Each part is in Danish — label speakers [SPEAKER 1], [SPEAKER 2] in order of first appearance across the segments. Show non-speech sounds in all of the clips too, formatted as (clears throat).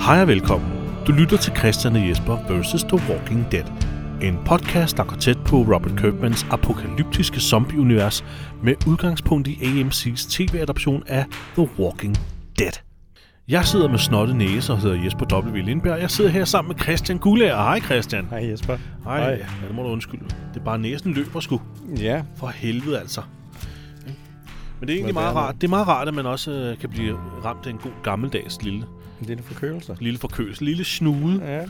[SPEAKER 1] Hej og velkommen. Du lytter til Christian og Jesper vs. The Walking Dead. En podcast, der går tæt på Robert Kirkmans apokalyptiske zombieunivers med udgangspunkt i AMC's tv-adaption af The Walking Dead. Jeg sidder med snotte næse og hedder Jesper W. Lindberg. Jeg sidder her sammen med Christian Gullager. Hej Christian.
[SPEAKER 2] Hej Jesper.
[SPEAKER 1] Hej. Ja, det må du undskylde. Det er bare næsen løber sgu.
[SPEAKER 2] Ja,
[SPEAKER 1] For helvede altså. Men det er egentlig
[SPEAKER 2] Hvad er
[SPEAKER 1] meget
[SPEAKER 2] det?
[SPEAKER 1] rart. Det er meget rart, at man også øh, kan blive ramt af en god gammeldags lille,
[SPEAKER 2] det er en forkølelse.
[SPEAKER 1] lille forkølelse, lille snude.
[SPEAKER 2] Ja.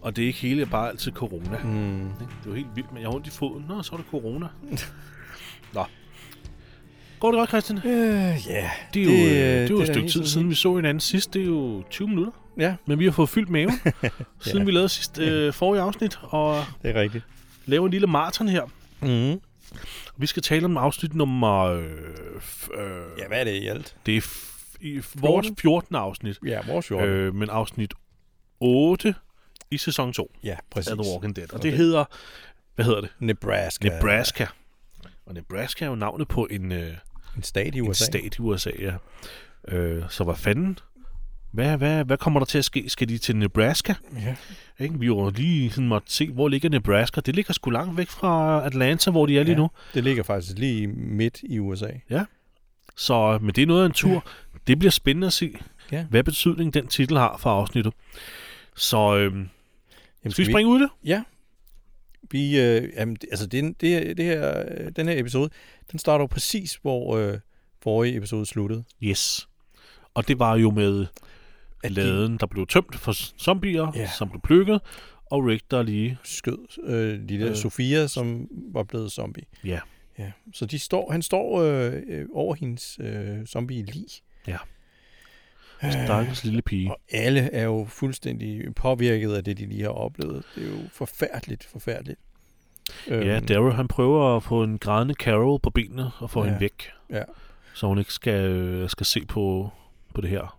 [SPEAKER 1] Og det er ikke hele, bare altid corona. Mm.
[SPEAKER 2] Mm.
[SPEAKER 1] Det er jo helt vildt, men jeg har ondt i foden. Nå, så er det corona.
[SPEAKER 2] (laughs)
[SPEAKER 1] Nå. Går det godt, Christian?
[SPEAKER 2] Øh, ja.
[SPEAKER 1] Det er jo, det,
[SPEAKER 2] øh,
[SPEAKER 1] det er jo
[SPEAKER 2] da
[SPEAKER 1] et stykke
[SPEAKER 2] helt
[SPEAKER 1] tid
[SPEAKER 2] sådan-
[SPEAKER 1] siden, vi så hinanden sidst. Det er jo 20 minutter.
[SPEAKER 2] Ja,
[SPEAKER 1] Men vi har fået fyldt
[SPEAKER 2] (laughs)
[SPEAKER 1] maven, siden
[SPEAKER 2] Ja.
[SPEAKER 1] vi lavede sidst øh, forrige afsnit. Og
[SPEAKER 2] det er rigtigt.
[SPEAKER 1] laver en lille maraton her.
[SPEAKER 2] Mm.
[SPEAKER 1] Vi skal tale om afsnit nummer... Øh, f- øh,
[SPEAKER 2] Ja, hvad er det i alt?
[SPEAKER 1] Det er f- i f- vores 14. afsnit.
[SPEAKER 2] Ja, vores jord. Øh,
[SPEAKER 1] Øh, men afsnit 8 i sæson 2
[SPEAKER 2] ja,
[SPEAKER 1] af
[SPEAKER 2] præcis.
[SPEAKER 1] The Walking Dead. Og
[SPEAKER 2] Og
[SPEAKER 1] det
[SPEAKER 2] det-
[SPEAKER 1] hedder... Hvad hedder det?
[SPEAKER 2] Nebraska.
[SPEAKER 1] Nebraska. Og Nebraska er jo navnet på en, øh,
[SPEAKER 2] En stat i
[SPEAKER 1] en
[SPEAKER 2] USA.
[SPEAKER 1] stat i USA, ja. Øh, så hvad fanden? Hvad, hvad, hvad kommer der til at ske? Skal de til Nebraska?
[SPEAKER 2] Ja.
[SPEAKER 1] Ikke? Vi jo lige sådan måtte se, hvor ligger Nebraska. Det ligger sgu langt væk fra Atlanta, hvor de er lige ja. nu.
[SPEAKER 2] Det ligger faktisk lige midt i USA.
[SPEAKER 1] Så, øh, men det er noget af en tur. Det bliver spændende at se,
[SPEAKER 2] Ja.
[SPEAKER 1] hvad betydning den titel har for afsnittet. Så øh,
[SPEAKER 2] Jamen,
[SPEAKER 1] skal vi springe ud i det?
[SPEAKER 2] Ja. Vi, øh, jamen, det- altså, det, det, det her, øh, den her episode, den starter jo præcis, hvor øh, forrige episode sluttede.
[SPEAKER 1] Yes. Og det var jo med
[SPEAKER 2] At de
[SPEAKER 1] laden, der blev tømt for zombier,
[SPEAKER 2] Ja.
[SPEAKER 1] som blev plukket, og Rick, der lige
[SPEAKER 2] skød øh, de der
[SPEAKER 1] Øh.
[SPEAKER 2] øh. Sofia, som var blevet zombie.
[SPEAKER 1] Ja.
[SPEAKER 2] Ja, så de står, han står øh, øh, over hendes øh, zombie lig.
[SPEAKER 1] Ja.
[SPEAKER 2] Øh,
[SPEAKER 1] Stakkels lille pige.
[SPEAKER 2] og alle er jo fuldstændig påvirket af det, de lige har oplevet. Det er jo forfærdeligt, forfærdeligt. øhm,
[SPEAKER 1] Ja, Daryl han prøver at få en grædende Carol på benene og få ja.
[SPEAKER 2] Ja.
[SPEAKER 1] hende væk.
[SPEAKER 2] Ja.
[SPEAKER 1] Så hun ikke skal, øh, skal se på, på det her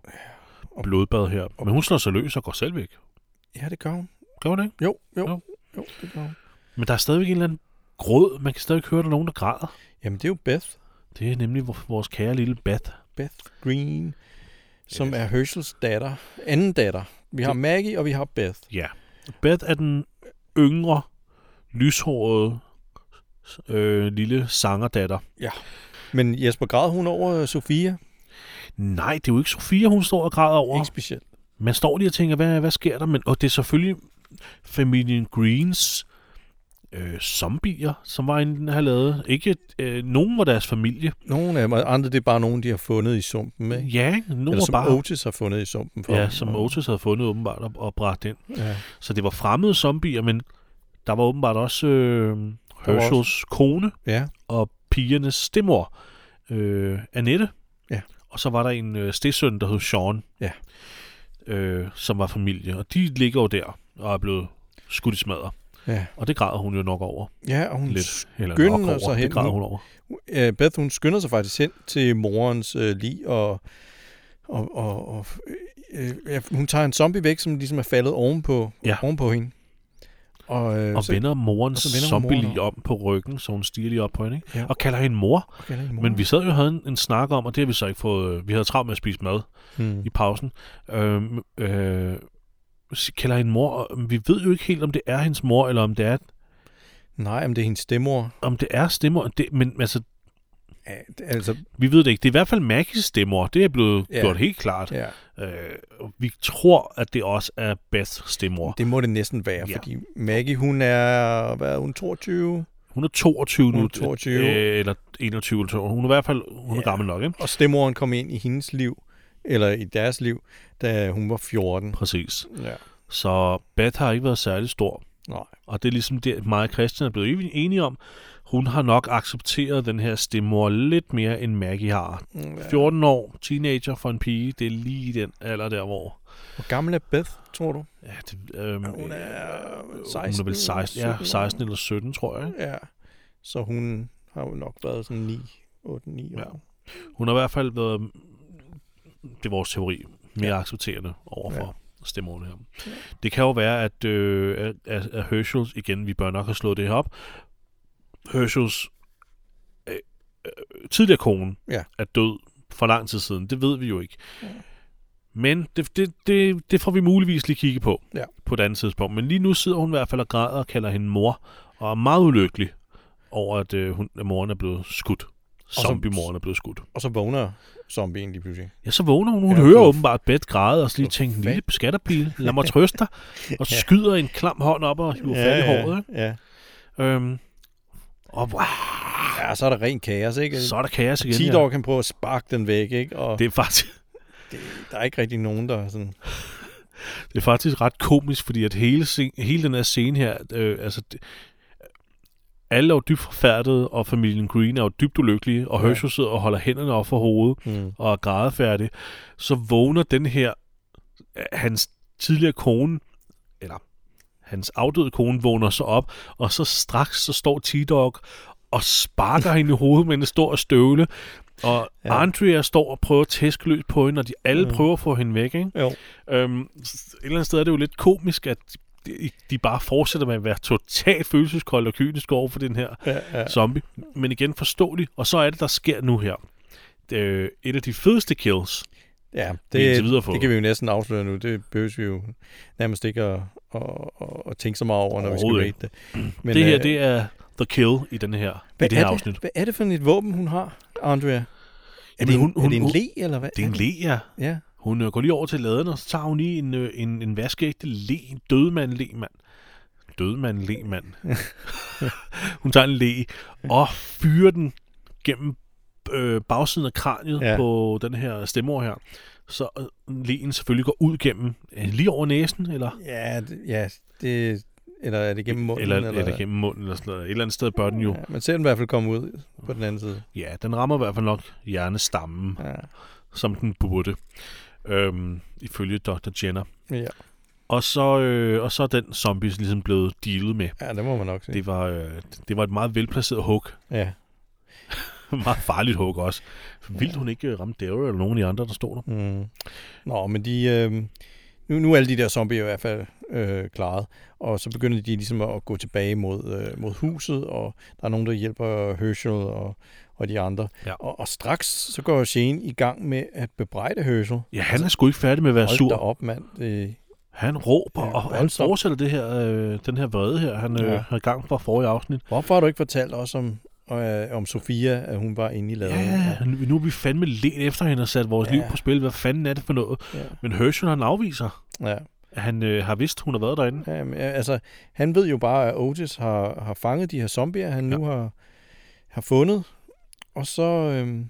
[SPEAKER 2] Og-
[SPEAKER 1] blodbad her. Men hun slår sig løs og går selv væk.
[SPEAKER 2] ja, det gør hun.
[SPEAKER 1] Gør hun ikke?
[SPEAKER 2] Jo, jo,
[SPEAKER 1] Jo.
[SPEAKER 2] jo, jo det gør hun.
[SPEAKER 1] Men der er stadigvæk en eller anden gråd. Man kan stadig høre, at der er nogen, der græder.
[SPEAKER 2] Jamen, det er jo Beth.
[SPEAKER 1] Det er nemlig vor- vores kære lille Beth.
[SPEAKER 2] Beth Green, som
[SPEAKER 1] Yes.
[SPEAKER 2] yes. er Herschels datter. Anden datter. Vi har
[SPEAKER 1] Det-
[SPEAKER 2] Maggie, og vi har Beth.
[SPEAKER 1] Ja. Beth er den yngre, lyshårede, øh, lille sangerdatter.
[SPEAKER 2] Men Jesper græd hun over øh, Sofia?
[SPEAKER 1] Nej, det er jo ikke Sofia, hun står og græder over.
[SPEAKER 2] Ikke specielt.
[SPEAKER 1] man står lige og tænker, hvad, hvad sker der? Men, og det er selvfølgelig familien Greens øh, zombier, som var inde har lavet. Ikke øh, nogen var deres familie.
[SPEAKER 2] Nogle af dem, og andre det er bare nogen, de har fundet i sumpen, ikke?
[SPEAKER 1] Ja, ikke? nogen
[SPEAKER 2] Eller
[SPEAKER 1] var
[SPEAKER 2] som
[SPEAKER 1] bare...
[SPEAKER 2] Otis har fundet i sumpen for
[SPEAKER 1] Ja,
[SPEAKER 2] ham.
[SPEAKER 1] som
[SPEAKER 2] Og-
[SPEAKER 1] Otis havde fundet åbenbart og, og bragt ind.
[SPEAKER 2] Ja.
[SPEAKER 1] Så det var fremmede zombier, men der var åbenbart også øh, Herschels kone
[SPEAKER 2] ja.
[SPEAKER 1] og pigernes stemor, øh, Annette.
[SPEAKER 2] Ja.
[SPEAKER 1] Og så var der en øh, stedsøn, der hed Sean,
[SPEAKER 2] Ja.
[SPEAKER 1] øh, som var familie. Og de ligger jo der og er blevet skudt i smadret.
[SPEAKER 2] Ja.
[SPEAKER 1] Og det græder hun jo nok over.
[SPEAKER 2] ja, og hun
[SPEAKER 1] Lidt. Eller
[SPEAKER 2] skynder
[SPEAKER 1] nok over.
[SPEAKER 2] sig hen
[SPEAKER 1] det græder
[SPEAKER 2] nu.
[SPEAKER 1] hun over.
[SPEAKER 2] øh, Beth, hun skynder sig faktisk hen til morens øh, lig, og, og, og, og øh, ja, hun tager en zombie væk, som ligesom er faldet ovenpå,
[SPEAKER 1] Ja.
[SPEAKER 2] ja. ovenpå hende. Og, øh,
[SPEAKER 1] Og
[SPEAKER 2] så-
[SPEAKER 1] vender morens
[SPEAKER 2] og så vender hun
[SPEAKER 1] zombie
[SPEAKER 2] moren
[SPEAKER 1] lige om på ryggen, så hun stiger lige op på hende. Ikke?
[SPEAKER 2] Ja.
[SPEAKER 1] Og kalder hende mor.
[SPEAKER 2] og kalder hende moren.
[SPEAKER 1] Men vi sad jo og havde en, en snak om, og det har vi så ikke fået... øh, Vi havde travlt med at spise mad
[SPEAKER 2] Hmm.
[SPEAKER 1] i pausen. Øhm, øh, s- kalder hende mor. og Vi ved jo ikke helt, om det er hendes mor, eller om det er,
[SPEAKER 2] Nej, men det er hendes stemmor.
[SPEAKER 1] om det er stemmer. Det, men altså,
[SPEAKER 2] Ja, det- altså,
[SPEAKER 1] vi ved det ikke. Det er i hvert fald Maggies stemmer. Det er blevet
[SPEAKER 2] Ja.
[SPEAKER 1] gjort helt klart.
[SPEAKER 2] ja,
[SPEAKER 1] Øh, og vi tror, at det også er Beths stemmer.
[SPEAKER 2] det må det næsten være,
[SPEAKER 1] Ja.
[SPEAKER 2] ja. fordi Maggie, hun er, hvad er hun, 22?
[SPEAKER 1] Hun er 22
[SPEAKER 2] Hun
[SPEAKER 1] nu.
[SPEAKER 2] er 22.
[SPEAKER 1] Øh, eller 21 eller 22. Hun er i hvert fald hun er
[SPEAKER 2] Ja.
[SPEAKER 1] gammel nok, ikke?
[SPEAKER 2] Og stemmoren kom ind i hendes liv, eller i deres liv, da hun var 14.
[SPEAKER 1] Præcis.
[SPEAKER 2] Ja.
[SPEAKER 1] Så Beth har ikke været særlig stor.
[SPEAKER 2] Nej.
[SPEAKER 1] Og det er ligesom det, mig og Christian er blevet ev- enige om. Hun har nok accepteret den her stemmor lidt mere, end Maggie har.
[SPEAKER 2] Ja.
[SPEAKER 1] 14 år, teenager for en pige, det er lige den alder der, hvor...
[SPEAKER 2] Hvor gammel er Beth, tror du?
[SPEAKER 1] Ja, det, øhm,
[SPEAKER 2] Hun er 16.
[SPEAKER 1] hun er vel 16,
[SPEAKER 2] eller
[SPEAKER 1] ja,
[SPEAKER 2] 17 år.
[SPEAKER 1] 16 eller 17, tror jeg. ikke?
[SPEAKER 2] Ja, så hun har jo nok været sådan 9, 8, 9 år.
[SPEAKER 1] Ja. Hun har i hvert fald været, det er vores teori, mere ja. accepterende overfor ja. stemmeordene her. Ja.
[SPEAKER 2] Ja.
[SPEAKER 1] Det kan jo være, at, øh, at- at, at Herschels, igen, vi bør nok have slået det her op, Herschels øh, øh, tidligere kone
[SPEAKER 2] Ja.
[SPEAKER 1] er død for lang tid siden. Det ved vi jo ikke.
[SPEAKER 2] Ja.
[SPEAKER 1] Men det, det, det, det får vi muligvis lige kigge på
[SPEAKER 2] Ja.
[SPEAKER 1] på et andet tidspunkt. Men lige nu sidder hun i hvert fald og græder og kalder hende mor, og er meget ulykkelig over, at, øh, hun, at moren er blevet skudt.
[SPEAKER 2] så-
[SPEAKER 1] Zombie-moren er blevet skudt.
[SPEAKER 2] Og så vågner zombien lige pludselig.
[SPEAKER 1] Ja, så vågner hun. Hun
[SPEAKER 2] Ja,
[SPEAKER 1] ja, hører
[SPEAKER 2] for-
[SPEAKER 1] åbenbart Beth græde, og så lige
[SPEAKER 2] for
[SPEAKER 1] tænker,
[SPEAKER 2] fanden.
[SPEAKER 1] lille
[SPEAKER 2] (laughs)
[SPEAKER 1] skatterpige, lad mig trøste dig. Og
[SPEAKER 2] Ja.
[SPEAKER 1] skyder en klam hånd op og hiver ja, fat i håret. Ikke?
[SPEAKER 2] ja.
[SPEAKER 1] Øhm, og wow,
[SPEAKER 2] ja, så er der ren kaos, ikke?
[SPEAKER 1] så er der kaos igen.
[SPEAKER 2] Tidor kan prøve at sparke den væk, ikke? Og
[SPEAKER 1] Det er faktisk...
[SPEAKER 2] der er ikke rigtig nogen, der er sådan...
[SPEAKER 1] Det er faktisk ret komisk, fordi at hele, scen- hele den her scene her, øh, altså, det, alle er jo dybt forfærdede, og familien Green er jo dybt ulykkelige, og
[SPEAKER 2] Ja.
[SPEAKER 1] Herschel sidder og holder hænderne op for hovedet
[SPEAKER 2] Mm.
[SPEAKER 1] og er grædefærdig. Så vågner den her, øh, hans tidligere kone, eller hans afdøde kone, vågner så op, og så straks så står T-Dog og sparker hende i hovedet med en stor støvle, og
[SPEAKER 2] Ja.
[SPEAKER 1] ja. Andrea står og prøver at tæske løs på hende, og de alle
[SPEAKER 2] Mm.
[SPEAKER 1] mm. prøver at få hende væk, ikke?
[SPEAKER 2] Jo.
[SPEAKER 1] Øhm, s- et eller andet sted er det jo lidt komisk, at de, de bare fortsætter med at være totalt følelseskolde og kyniske over for den her
[SPEAKER 2] Ja, ja.
[SPEAKER 1] ja. zombie. Men igen forståeligt, og så er det, der sker nu her. Øh, et af de fedeste kills.
[SPEAKER 2] ja
[SPEAKER 1] Vi er indtil
[SPEAKER 2] det,
[SPEAKER 1] videre fået.
[SPEAKER 2] det kan vi jo næsten afsløre nu. Det behøver vi jo nærmest ikke at, at, at, at tænke så meget over, når vi skal
[SPEAKER 1] Overhovedet
[SPEAKER 2] rate det.
[SPEAKER 1] Men, det her,
[SPEAKER 2] øh,
[SPEAKER 1] det er The Kill i, den her, i
[SPEAKER 2] hvad
[SPEAKER 1] det her
[SPEAKER 2] er
[SPEAKER 1] afsnit.
[SPEAKER 2] Hvad er det for et våben, hun har, Andrea? Er
[SPEAKER 1] Jamen,
[SPEAKER 2] det, en,
[SPEAKER 1] hun-
[SPEAKER 2] er
[SPEAKER 1] hun-
[SPEAKER 2] det en
[SPEAKER 1] hun-
[SPEAKER 2] le, eller hvad?
[SPEAKER 1] Det er en le, ja.
[SPEAKER 2] Ja.
[SPEAKER 1] Hun øh, går lige over til laden, og så tager hun lige en, øh, en, en vaskeægte le, en dødmand le, mand. Dødmand le,
[SPEAKER 2] (laughs)
[SPEAKER 1] mand. hun tager en le og fyrer den gennem øh, bagsiden af kraniet
[SPEAKER 2] Ja.
[SPEAKER 1] ja. på den her stemmer her. Så øh, leen selvfølgelig går ud gennem, øh, lige over næsen, eller,
[SPEAKER 2] Ja, det, ja, det, eller er det gennem munden?
[SPEAKER 1] eller, eller, eller gennem munden, eller sådan noget. Et eller andet sted bør den jo.
[SPEAKER 2] Ja, man ser den i hvert fald komme ud på den anden side.
[SPEAKER 1] Ja, den rammer i hvert fald nok hjernestammen,
[SPEAKER 2] Ja.
[SPEAKER 1] som den burde, øhm, ifølge Dr. Jenner.
[SPEAKER 2] Ja.
[SPEAKER 1] Og så, øh, og så er den zombie ligesom blevet dealet med.
[SPEAKER 2] ja, det må man nok sige.
[SPEAKER 1] Det var, øh, det var et meget velplaceret hug.
[SPEAKER 2] Ja.
[SPEAKER 1] (laughs) meget farligt hug også. Vildt hun ikke øh, ramte Daryl eller nogen af de andre, der stod der.
[SPEAKER 2] Mm. Nå, men de... Øh, nu, nu er alle de der zombier i hvert fald øh, klaret, og så begynder de ligesom at gå tilbage mod, øh, mod huset, og der er nogen, der hjælper Herschel og, og de andre.
[SPEAKER 1] Ja.
[SPEAKER 2] Og, og straks så går Shane i gang med at bebrejde Herschel.
[SPEAKER 1] Ja, han er sgu ikke færdig med at være
[SPEAKER 2] Altså, Hold da
[SPEAKER 1] sur.
[SPEAKER 2] op, mand. Øh, Det,
[SPEAKER 1] Han råber,
[SPEAKER 2] Ja,
[SPEAKER 1] og han
[SPEAKER 2] voldsomt.
[SPEAKER 1] fortsætter det her, øh, den her vrede her, han øh,
[SPEAKER 2] Ja.
[SPEAKER 1] har i gang fra forrige afsnit.
[SPEAKER 2] hvorfor har du ikke fortalt os om, øh, om Sofia, at hun var inde i laden?
[SPEAKER 1] Ja, nu, nu er vi fandme let efter hende og sat vores
[SPEAKER 2] Ja.
[SPEAKER 1] ja. liv på spil. Hvad fanden er det for noget?
[SPEAKER 2] ja.
[SPEAKER 1] Men Herschel, han afviser,
[SPEAKER 2] ja.
[SPEAKER 1] at han øh, har vidst, hun har været derinde.
[SPEAKER 2] Jamen, ja, altså, han ved jo bare, at Otis har, har fanget de her zombier, han ja. nu har, har fundet. Og så, øhm,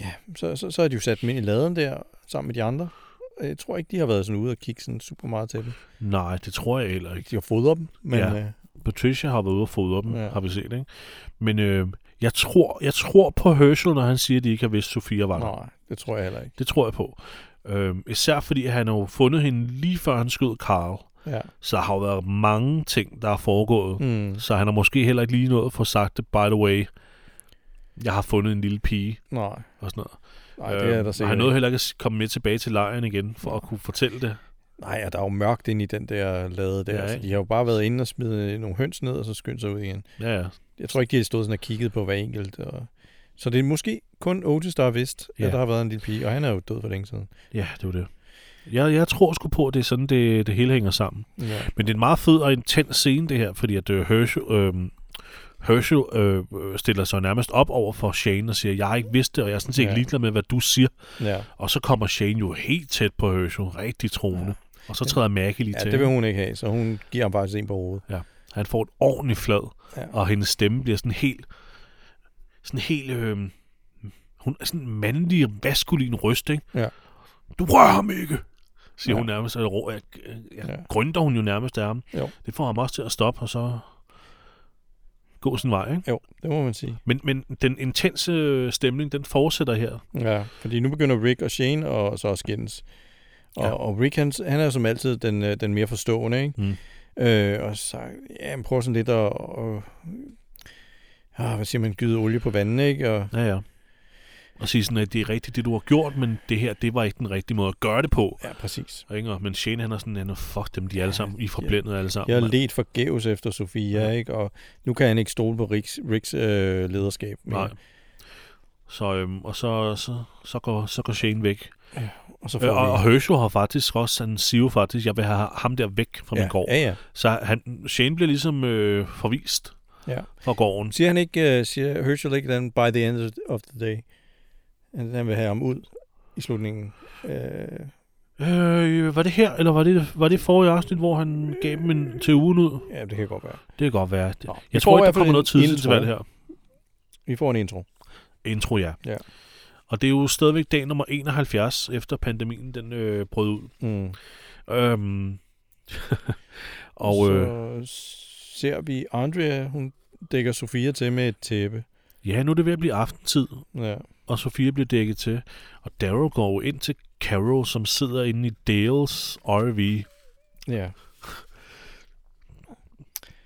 [SPEAKER 2] ja, så, så, så har de jo sat dem ind i laden der, sammen med de andre. Jeg tror ikke, de har været sådan ude og kigge sådan super meget til dem.
[SPEAKER 1] Nej, det tror jeg heller ikke.
[SPEAKER 2] De har fodret dem, men
[SPEAKER 1] Ja.
[SPEAKER 2] ja. øh,
[SPEAKER 1] Patricia har været ude og fodre dem,
[SPEAKER 2] Ja.
[SPEAKER 1] ja. har vi set, ikke? Men øh, jeg, tror, jeg tror på Herschel, når han siger, at de ikke har vidst, Sofia var der.
[SPEAKER 2] nej, det tror jeg heller ikke.
[SPEAKER 1] Det tror jeg på. Øhm, især fordi han har jo fundet hende lige før han skød Carl.
[SPEAKER 2] Ja.
[SPEAKER 1] Så der har jo været mange ting, der er foregået.
[SPEAKER 2] Mm,
[SPEAKER 1] Mm. Så han har måske heller ikke lige nået at få sagt det, by the way, jeg har fundet en lille pige
[SPEAKER 2] nej,
[SPEAKER 1] og sådan noget. Øh,
[SPEAKER 2] nej, det er der
[SPEAKER 1] og
[SPEAKER 2] sikkert
[SPEAKER 1] han nåede
[SPEAKER 2] ikke.
[SPEAKER 1] heller ikke at komme med tilbage til lejren igen, for at kunne fortælle det.
[SPEAKER 2] Nej, og der er jo mørkt inde i den der lade der.
[SPEAKER 1] Ja,
[SPEAKER 2] Ja, så
[SPEAKER 1] ikke?
[SPEAKER 2] de har jo bare været inde og smidt nogle høns ned, og så skyndt sig ud igen.
[SPEAKER 1] Ja, ja.
[SPEAKER 2] jeg tror ikke, de har stået sådan og kigget på hver enkelt. Og... Så det er måske kun Otis, der har vidst, ja.
[SPEAKER 1] Ja.
[SPEAKER 2] at der har været en lille pige, og han er jo død for længe siden.
[SPEAKER 1] ja det var det. Jeg, jeg tror sgu på, at det er sådan, det, det hele hænger sammen.
[SPEAKER 2] Ja.
[SPEAKER 1] Men det er en meget fed og intens scene, det her, fordi at øh, Herschel, øh, Herschel øh, øh, stiller sig nærmest op over for Shane og siger, jeg har ikke vidst det, og jeg er sådan set
[SPEAKER 2] Ja.
[SPEAKER 1] ja. ligeglad med, hvad du siger.
[SPEAKER 2] Ja.
[SPEAKER 1] Og så kommer Shane jo helt tæt på Herschel, rigtig troende.
[SPEAKER 2] Ja.
[SPEAKER 1] Ja. Og så træder Maggie lige
[SPEAKER 2] ja,
[SPEAKER 1] ja, til.
[SPEAKER 2] det vil
[SPEAKER 1] hende.
[SPEAKER 2] hun ikke have, så hun giver ham faktisk en på hovedet.
[SPEAKER 1] Han får et ordentligt flad,
[SPEAKER 2] Ja.
[SPEAKER 1] og hendes stemme bliver sådan helt... Sådan helt... Øh, hun er sådan en mandlig, maskulin røst, ikke?
[SPEAKER 2] Ja.
[SPEAKER 1] Du rører ham ikke! siger ja.
[SPEAKER 2] Ja.
[SPEAKER 1] hun nærmest, eller rå, jeg, jeg
[SPEAKER 2] Ja.
[SPEAKER 1] ja. grønter hun jo nærmest af ham.
[SPEAKER 2] Jo.
[SPEAKER 1] Det får ham også til at stoppe, og så gå sin vej, ikke?
[SPEAKER 2] Jo, det må man sige.
[SPEAKER 1] Men, men den intense øh, stemning, den fortsætter her.
[SPEAKER 2] Ja, fordi nu begynder Rick og Shane og så også skændes. Og, ja.
[SPEAKER 1] Ja.
[SPEAKER 2] og Rick, han, han er jo som altid den, øh, den mere forstående, ikke?
[SPEAKER 1] Mm.
[SPEAKER 2] Øh, og så ja, han prøver sådan lidt at... at Ah, hvad siger man, gyde olie på vandet, ikke? Og,
[SPEAKER 1] Ja, ja. Og sige sådan, at det er rigtigt, det du har gjort, men det her, det var ikke den rigtige måde at gøre det på.
[SPEAKER 2] ja, præcis.
[SPEAKER 1] Og Inger, men Shane, han er sådan, han er, fuck dem, de er alle sammen, I er forblændet alle sammen.
[SPEAKER 2] Jeg har
[SPEAKER 1] mand."
[SPEAKER 2] let forgæves efter Sofia,
[SPEAKER 1] Ja.
[SPEAKER 2] ikke? Og nu kan han ikke stole på Ricks, Ricks øh, lederskab. Men,
[SPEAKER 1] Nej. Så, øhm, og så, så, så, går, så går Shane væk.
[SPEAKER 2] Ja. Og så får
[SPEAKER 1] Øh, og,
[SPEAKER 2] vi...
[SPEAKER 1] og Herschel har faktisk også, han siger jo faktisk, jeg vil have ham der væk fra
[SPEAKER 2] ja.
[SPEAKER 1] min gård.
[SPEAKER 2] Ja, ja.
[SPEAKER 1] Så han, Shane bliver ligesom øh, forvist
[SPEAKER 2] ja.
[SPEAKER 1] fra gården.
[SPEAKER 2] Siger han ikke, uh, siger Herschel ikke den by the end of the day, at han vil have ham ud i slutningen? Uh,
[SPEAKER 1] Øh, var det her, eller var det, var det forrige afsnit, hvor han gav dem en, til ugen ud?
[SPEAKER 2] ja, det kan godt være.
[SPEAKER 1] Det kan godt være. Det,
[SPEAKER 2] Nå, vi
[SPEAKER 1] jeg
[SPEAKER 2] får
[SPEAKER 1] tror
[SPEAKER 2] i
[SPEAKER 1] ikke, der
[SPEAKER 2] hvert fald
[SPEAKER 1] kommer
[SPEAKER 2] en
[SPEAKER 1] noget tidsinterval
[SPEAKER 2] intro.
[SPEAKER 1] her.
[SPEAKER 2] Vi får en intro.
[SPEAKER 1] Intro, ja.
[SPEAKER 2] Ja.
[SPEAKER 1] Og det er jo stadigvæk dag nummer 71, efter pandemien den øh, brød ud.
[SPEAKER 2] Mm.
[SPEAKER 1] Øhm, (laughs) og
[SPEAKER 2] så
[SPEAKER 1] øh,
[SPEAKER 2] ser vi Andrea, hun dækker Sofia til med et tæppe.
[SPEAKER 1] ja, nu er det ved at blive aftentid,
[SPEAKER 2] Ja.
[SPEAKER 1] og Sofia bliver dækket til. Og Daryl går jo ind til Carol, som sidder inde i Dales RV.
[SPEAKER 2] ja.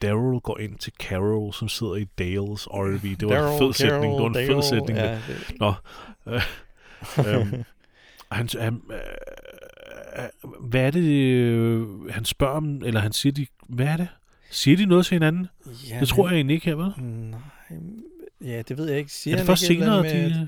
[SPEAKER 1] Daryl går ind til Carol, som sidder i Dales RV. Det var
[SPEAKER 2] Daryl,
[SPEAKER 1] en fed sætning. Det var en
[SPEAKER 2] Daryl,
[SPEAKER 1] fed sætning.
[SPEAKER 2] Ja, det,
[SPEAKER 1] øhm, han, han, øh, øh, hvad er det, øh, han spørger om, eller han siger, de, hvad er det? Siger de noget til hinanden?
[SPEAKER 2] ja,
[SPEAKER 1] det tror jeg egentlig ikke, her, vel?
[SPEAKER 2] Nej, ja, det ved jeg ikke. Siger
[SPEAKER 1] Er det
[SPEAKER 2] han
[SPEAKER 1] først
[SPEAKER 2] ikke et eller
[SPEAKER 1] senere,
[SPEAKER 2] andet med,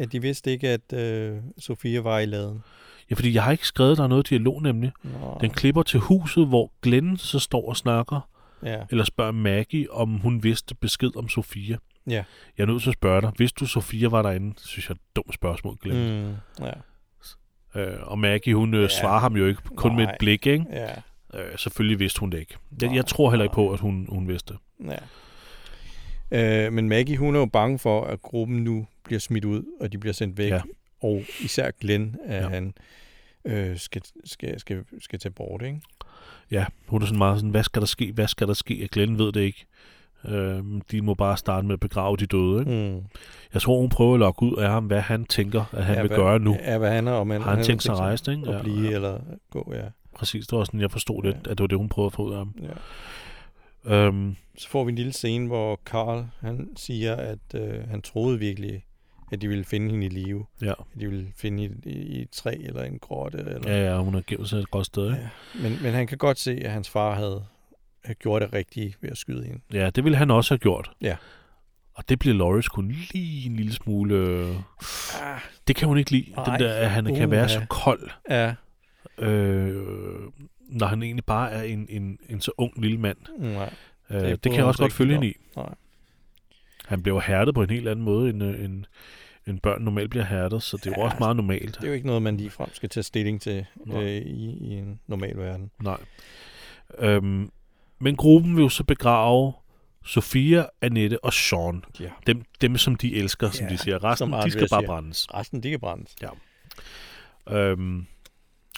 [SPEAKER 1] de...
[SPEAKER 2] at-
[SPEAKER 1] øh,
[SPEAKER 2] at de vidste ikke, at øh, Sofia var i laden.
[SPEAKER 1] Ja, fordi jeg har ikke skrevet, der er noget dialog nemlig.
[SPEAKER 2] Nå,
[SPEAKER 1] Den klipper til huset, hvor Glenn så står og snakker,
[SPEAKER 2] ja.
[SPEAKER 1] eller spørger Maggie, om hun vidste besked om Sofia.
[SPEAKER 2] Ja.
[SPEAKER 1] Jeg er nødt til at spørge dig, hvis du Sofia var derinde, synes jeg er et dumt spørgsmål, Glenn. Mm.
[SPEAKER 2] Mm, ja.
[SPEAKER 1] Øh, og Maggie, hun ja.
[SPEAKER 2] Ja.
[SPEAKER 1] svarer ham jo ikke, kun Nej. med
[SPEAKER 2] Nej.
[SPEAKER 1] et blik, ikke?
[SPEAKER 2] Ja.
[SPEAKER 1] Øh, selvfølgelig vidste hun det ikke. Jeg,
[SPEAKER 2] Nej,
[SPEAKER 1] jeg tror heller ikke
[SPEAKER 2] nej.
[SPEAKER 1] på, at hun, hun vidste det.
[SPEAKER 2] ja. Øh, men Maggie, hun er jo bange for, at gruppen nu bliver smidt ud, og de bliver sendt væk.
[SPEAKER 1] Ja.
[SPEAKER 2] Ja. Og især Glenn, at
[SPEAKER 1] Ja.
[SPEAKER 2] ja. han øh, skal, skal, skal, skal tage bort, ikke?
[SPEAKER 1] Ja, hun er sådan meget sådan, hvad skal der ske, hvad skal der ske? Og Glenn ved det ikke. Øh, de må bare starte med at begrave de døde. Ikke?
[SPEAKER 2] Mm.
[SPEAKER 1] Jeg tror, hun prøver at lokke ud af ham, hvad han tænker, at han ja, vil
[SPEAKER 2] hvad,
[SPEAKER 1] gøre nu. Ja,
[SPEAKER 2] Mm. Ja, hvad han er, om han,
[SPEAKER 1] har han tænkt sig at rejse det? Ikke?
[SPEAKER 2] Og blive
[SPEAKER 1] ja, ja,
[SPEAKER 2] eller gå, ja.
[SPEAKER 1] præcis, det var sådan, jeg forstod lidt,
[SPEAKER 2] Ja.
[SPEAKER 1] at det var det, hun prøvede at få ud af ham.
[SPEAKER 2] ja.
[SPEAKER 1] Øhm,
[SPEAKER 2] Så får vi en lille scene, hvor Karl han siger, at øh, han troede virkelig, at de ville finde hende i live.
[SPEAKER 1] ja.
[SPEAKER 2] At de ville finde hende i, i et træ eller en grotte. Eller...
[SPEAKER 1] ja, ja, hun har gemt sig et godt sted. Ikke?
[SPEAKER 2] Ja. Men, men han kan godt se, at hans far havde, havde gjort det rigtige ved at skyde hende.
[SPEAKER 1] Ja. det ville han også have gjort.
[SPEAKER 2] Ja.
[SPEAKER 1] Og det bliver Loris kun lige en lille smule... øh,
[SPEAKER 2] Ah.
[SPEAKER 1] Det kan hun ikke lide,
[SPEAKER 2] Nej.
[SPEAKER 1] den der, at han kan
[SPEAKER 2] Uha.
[SPEAKER 1] være så kold.
[SPEAKER 2] Ja,
[SPEAKER 1] øh, når han egentlig bare er en, en, en så ung lille mand.
[SPEAKER 2] nej.
[SPEAKER 1] Øh,
[SPEAKER 2] Det
[SPEAKER 1] det, kan
[SPEAKER 2] bryder
[SPEAKER 1] jeg
[SPEAKER 2] han
[SPEAKER 1] også
[SPEAKER 2] sig
[SPEAKER 1] godt
[SPEAKER 2] ikke
[SPEAKER 1] følge
[SPEAKER 2] om.
[SPEAKER 1] hende i.
[SPEAKER 2] Nej.
[SPEAKER 1] Han bliver jo hærdet på en helt anden måde, end, øh, end, end børn normalt bliver hærdet, så det er jo
[SPEAKER 2] Ja,
[SPEAKER 1] også meget normalt.
[SPEAKER 2] Det er jo ikke noget, man ligefrem skal tage stilling til
[SPEAKER 1] Nej.
[SPEAKER 2] øh, i, i en normal verden.
[SPEAKER 1] Nej. Øhm, men gruppen vil jo så begrave Sofia, Annette og Sean.
[SPEAKER 2] Ja.
[SPEAKER 1] Dem, dem som de elsker, som
[SPEAKER 2] Ja,
[SPEAKER 1] de siger. Resten,
[SPEAKER 2] som
[SPEAKER 1] de
[SPEAKER 2] Andreas
[SPEAKER 1] skal bare
[SPEAKER 2] siger.
[SPEAKER 1] brændes.
[SPEAKER 2] Resten, de kan brændes.
[SPEAKER 1] Øhm,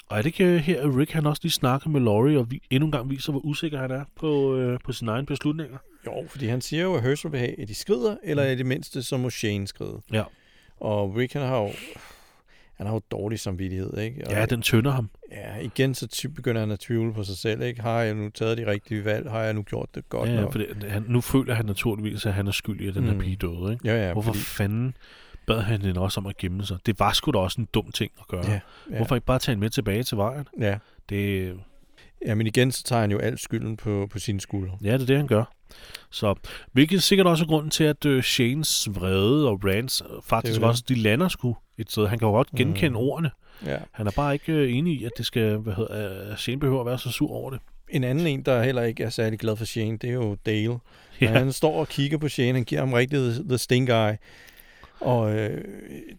[SPEAKER 1] og er det ikke øh, her, at Rick han også lige snakker med Laurie, og vi, endnu en gang viser, hvor usikker han er på, øh, på sine egne beslutninger?
[SPEAKER 2] Jo, fordi han siger jo, at Herschel vil have, at de skrider,
[SPEAKER 1] Mm.
[SPEAKER 2] eller i det mindste, så må Shane skride.
[SPEAKER 1] Ja.
[SPEAKER 2] Og Rick, han har jo, han har jo dårlig samvittighed, ikke? Og
[SPEAKER 1] Ja, den tynder ham.
[SPEAKER 2] Ja, igen så ty- begynder han at tvivle på sig selv, ikke? Har jeg nu taget de rigtige valg? Har jeg nu gjort det godt
[SPEAKER 1] Ja, ja,
[SPEAKER 2] nok?
[SPEAKER 1] for det, han, nu føler han naturligvis, at han er skyldig, at den mm. her
[SPEAKER 2] Mm.
[SPEAKER 1] pige døde. Ikke?
[SPEAKER 2] ja, ja,
[SPEAKER 1] Ja, Hvorfor
[SPEAKER 2] fordi-
[SPEAKER 1] fanden bad han hende også om at gemme sig? Det var sgu da også en dum ting at gøre.
[SPEAKER 2] Ja, ja.
[SPEAKER 1] Hvorfor ikke bare tage hende med tilbage til vejen?
[SPEAKER 2] Ja.
[SPEAKER 1] Det,
[SPEAKER 2] ja, men igen, så tager han jo alt skylden på, på sine skuldre.
[SPEAKER 1] ja, det er det, han gør. Så, hvilket sikkert også er grunden til, at øh, Shanes vrede og Rans øh, faktisk
[SPEAKER 2] det.
[SPEAKER 1] også, de lander sgu et sted. Han kan jo godt genkende mm.
[SPEAKER 2] Mm.
[SPEAKER 1] ordene.
[SPEAKER 2] Ja.
[SPEAKER 1] Han er bare ikke øh, enig i, at det skal, hvad hedder, øh, at Shane behøver at være så sur over det.
[SPEAKER 2] En anden en, der heller ikke er særlig glad for Shane, det er jo Dale. Ja.
[SPEAKER 1] Ja,
[SPEAKER 2] Han står og kigger på Shane, han giver ham rigtig the, the stink eye. Og øh,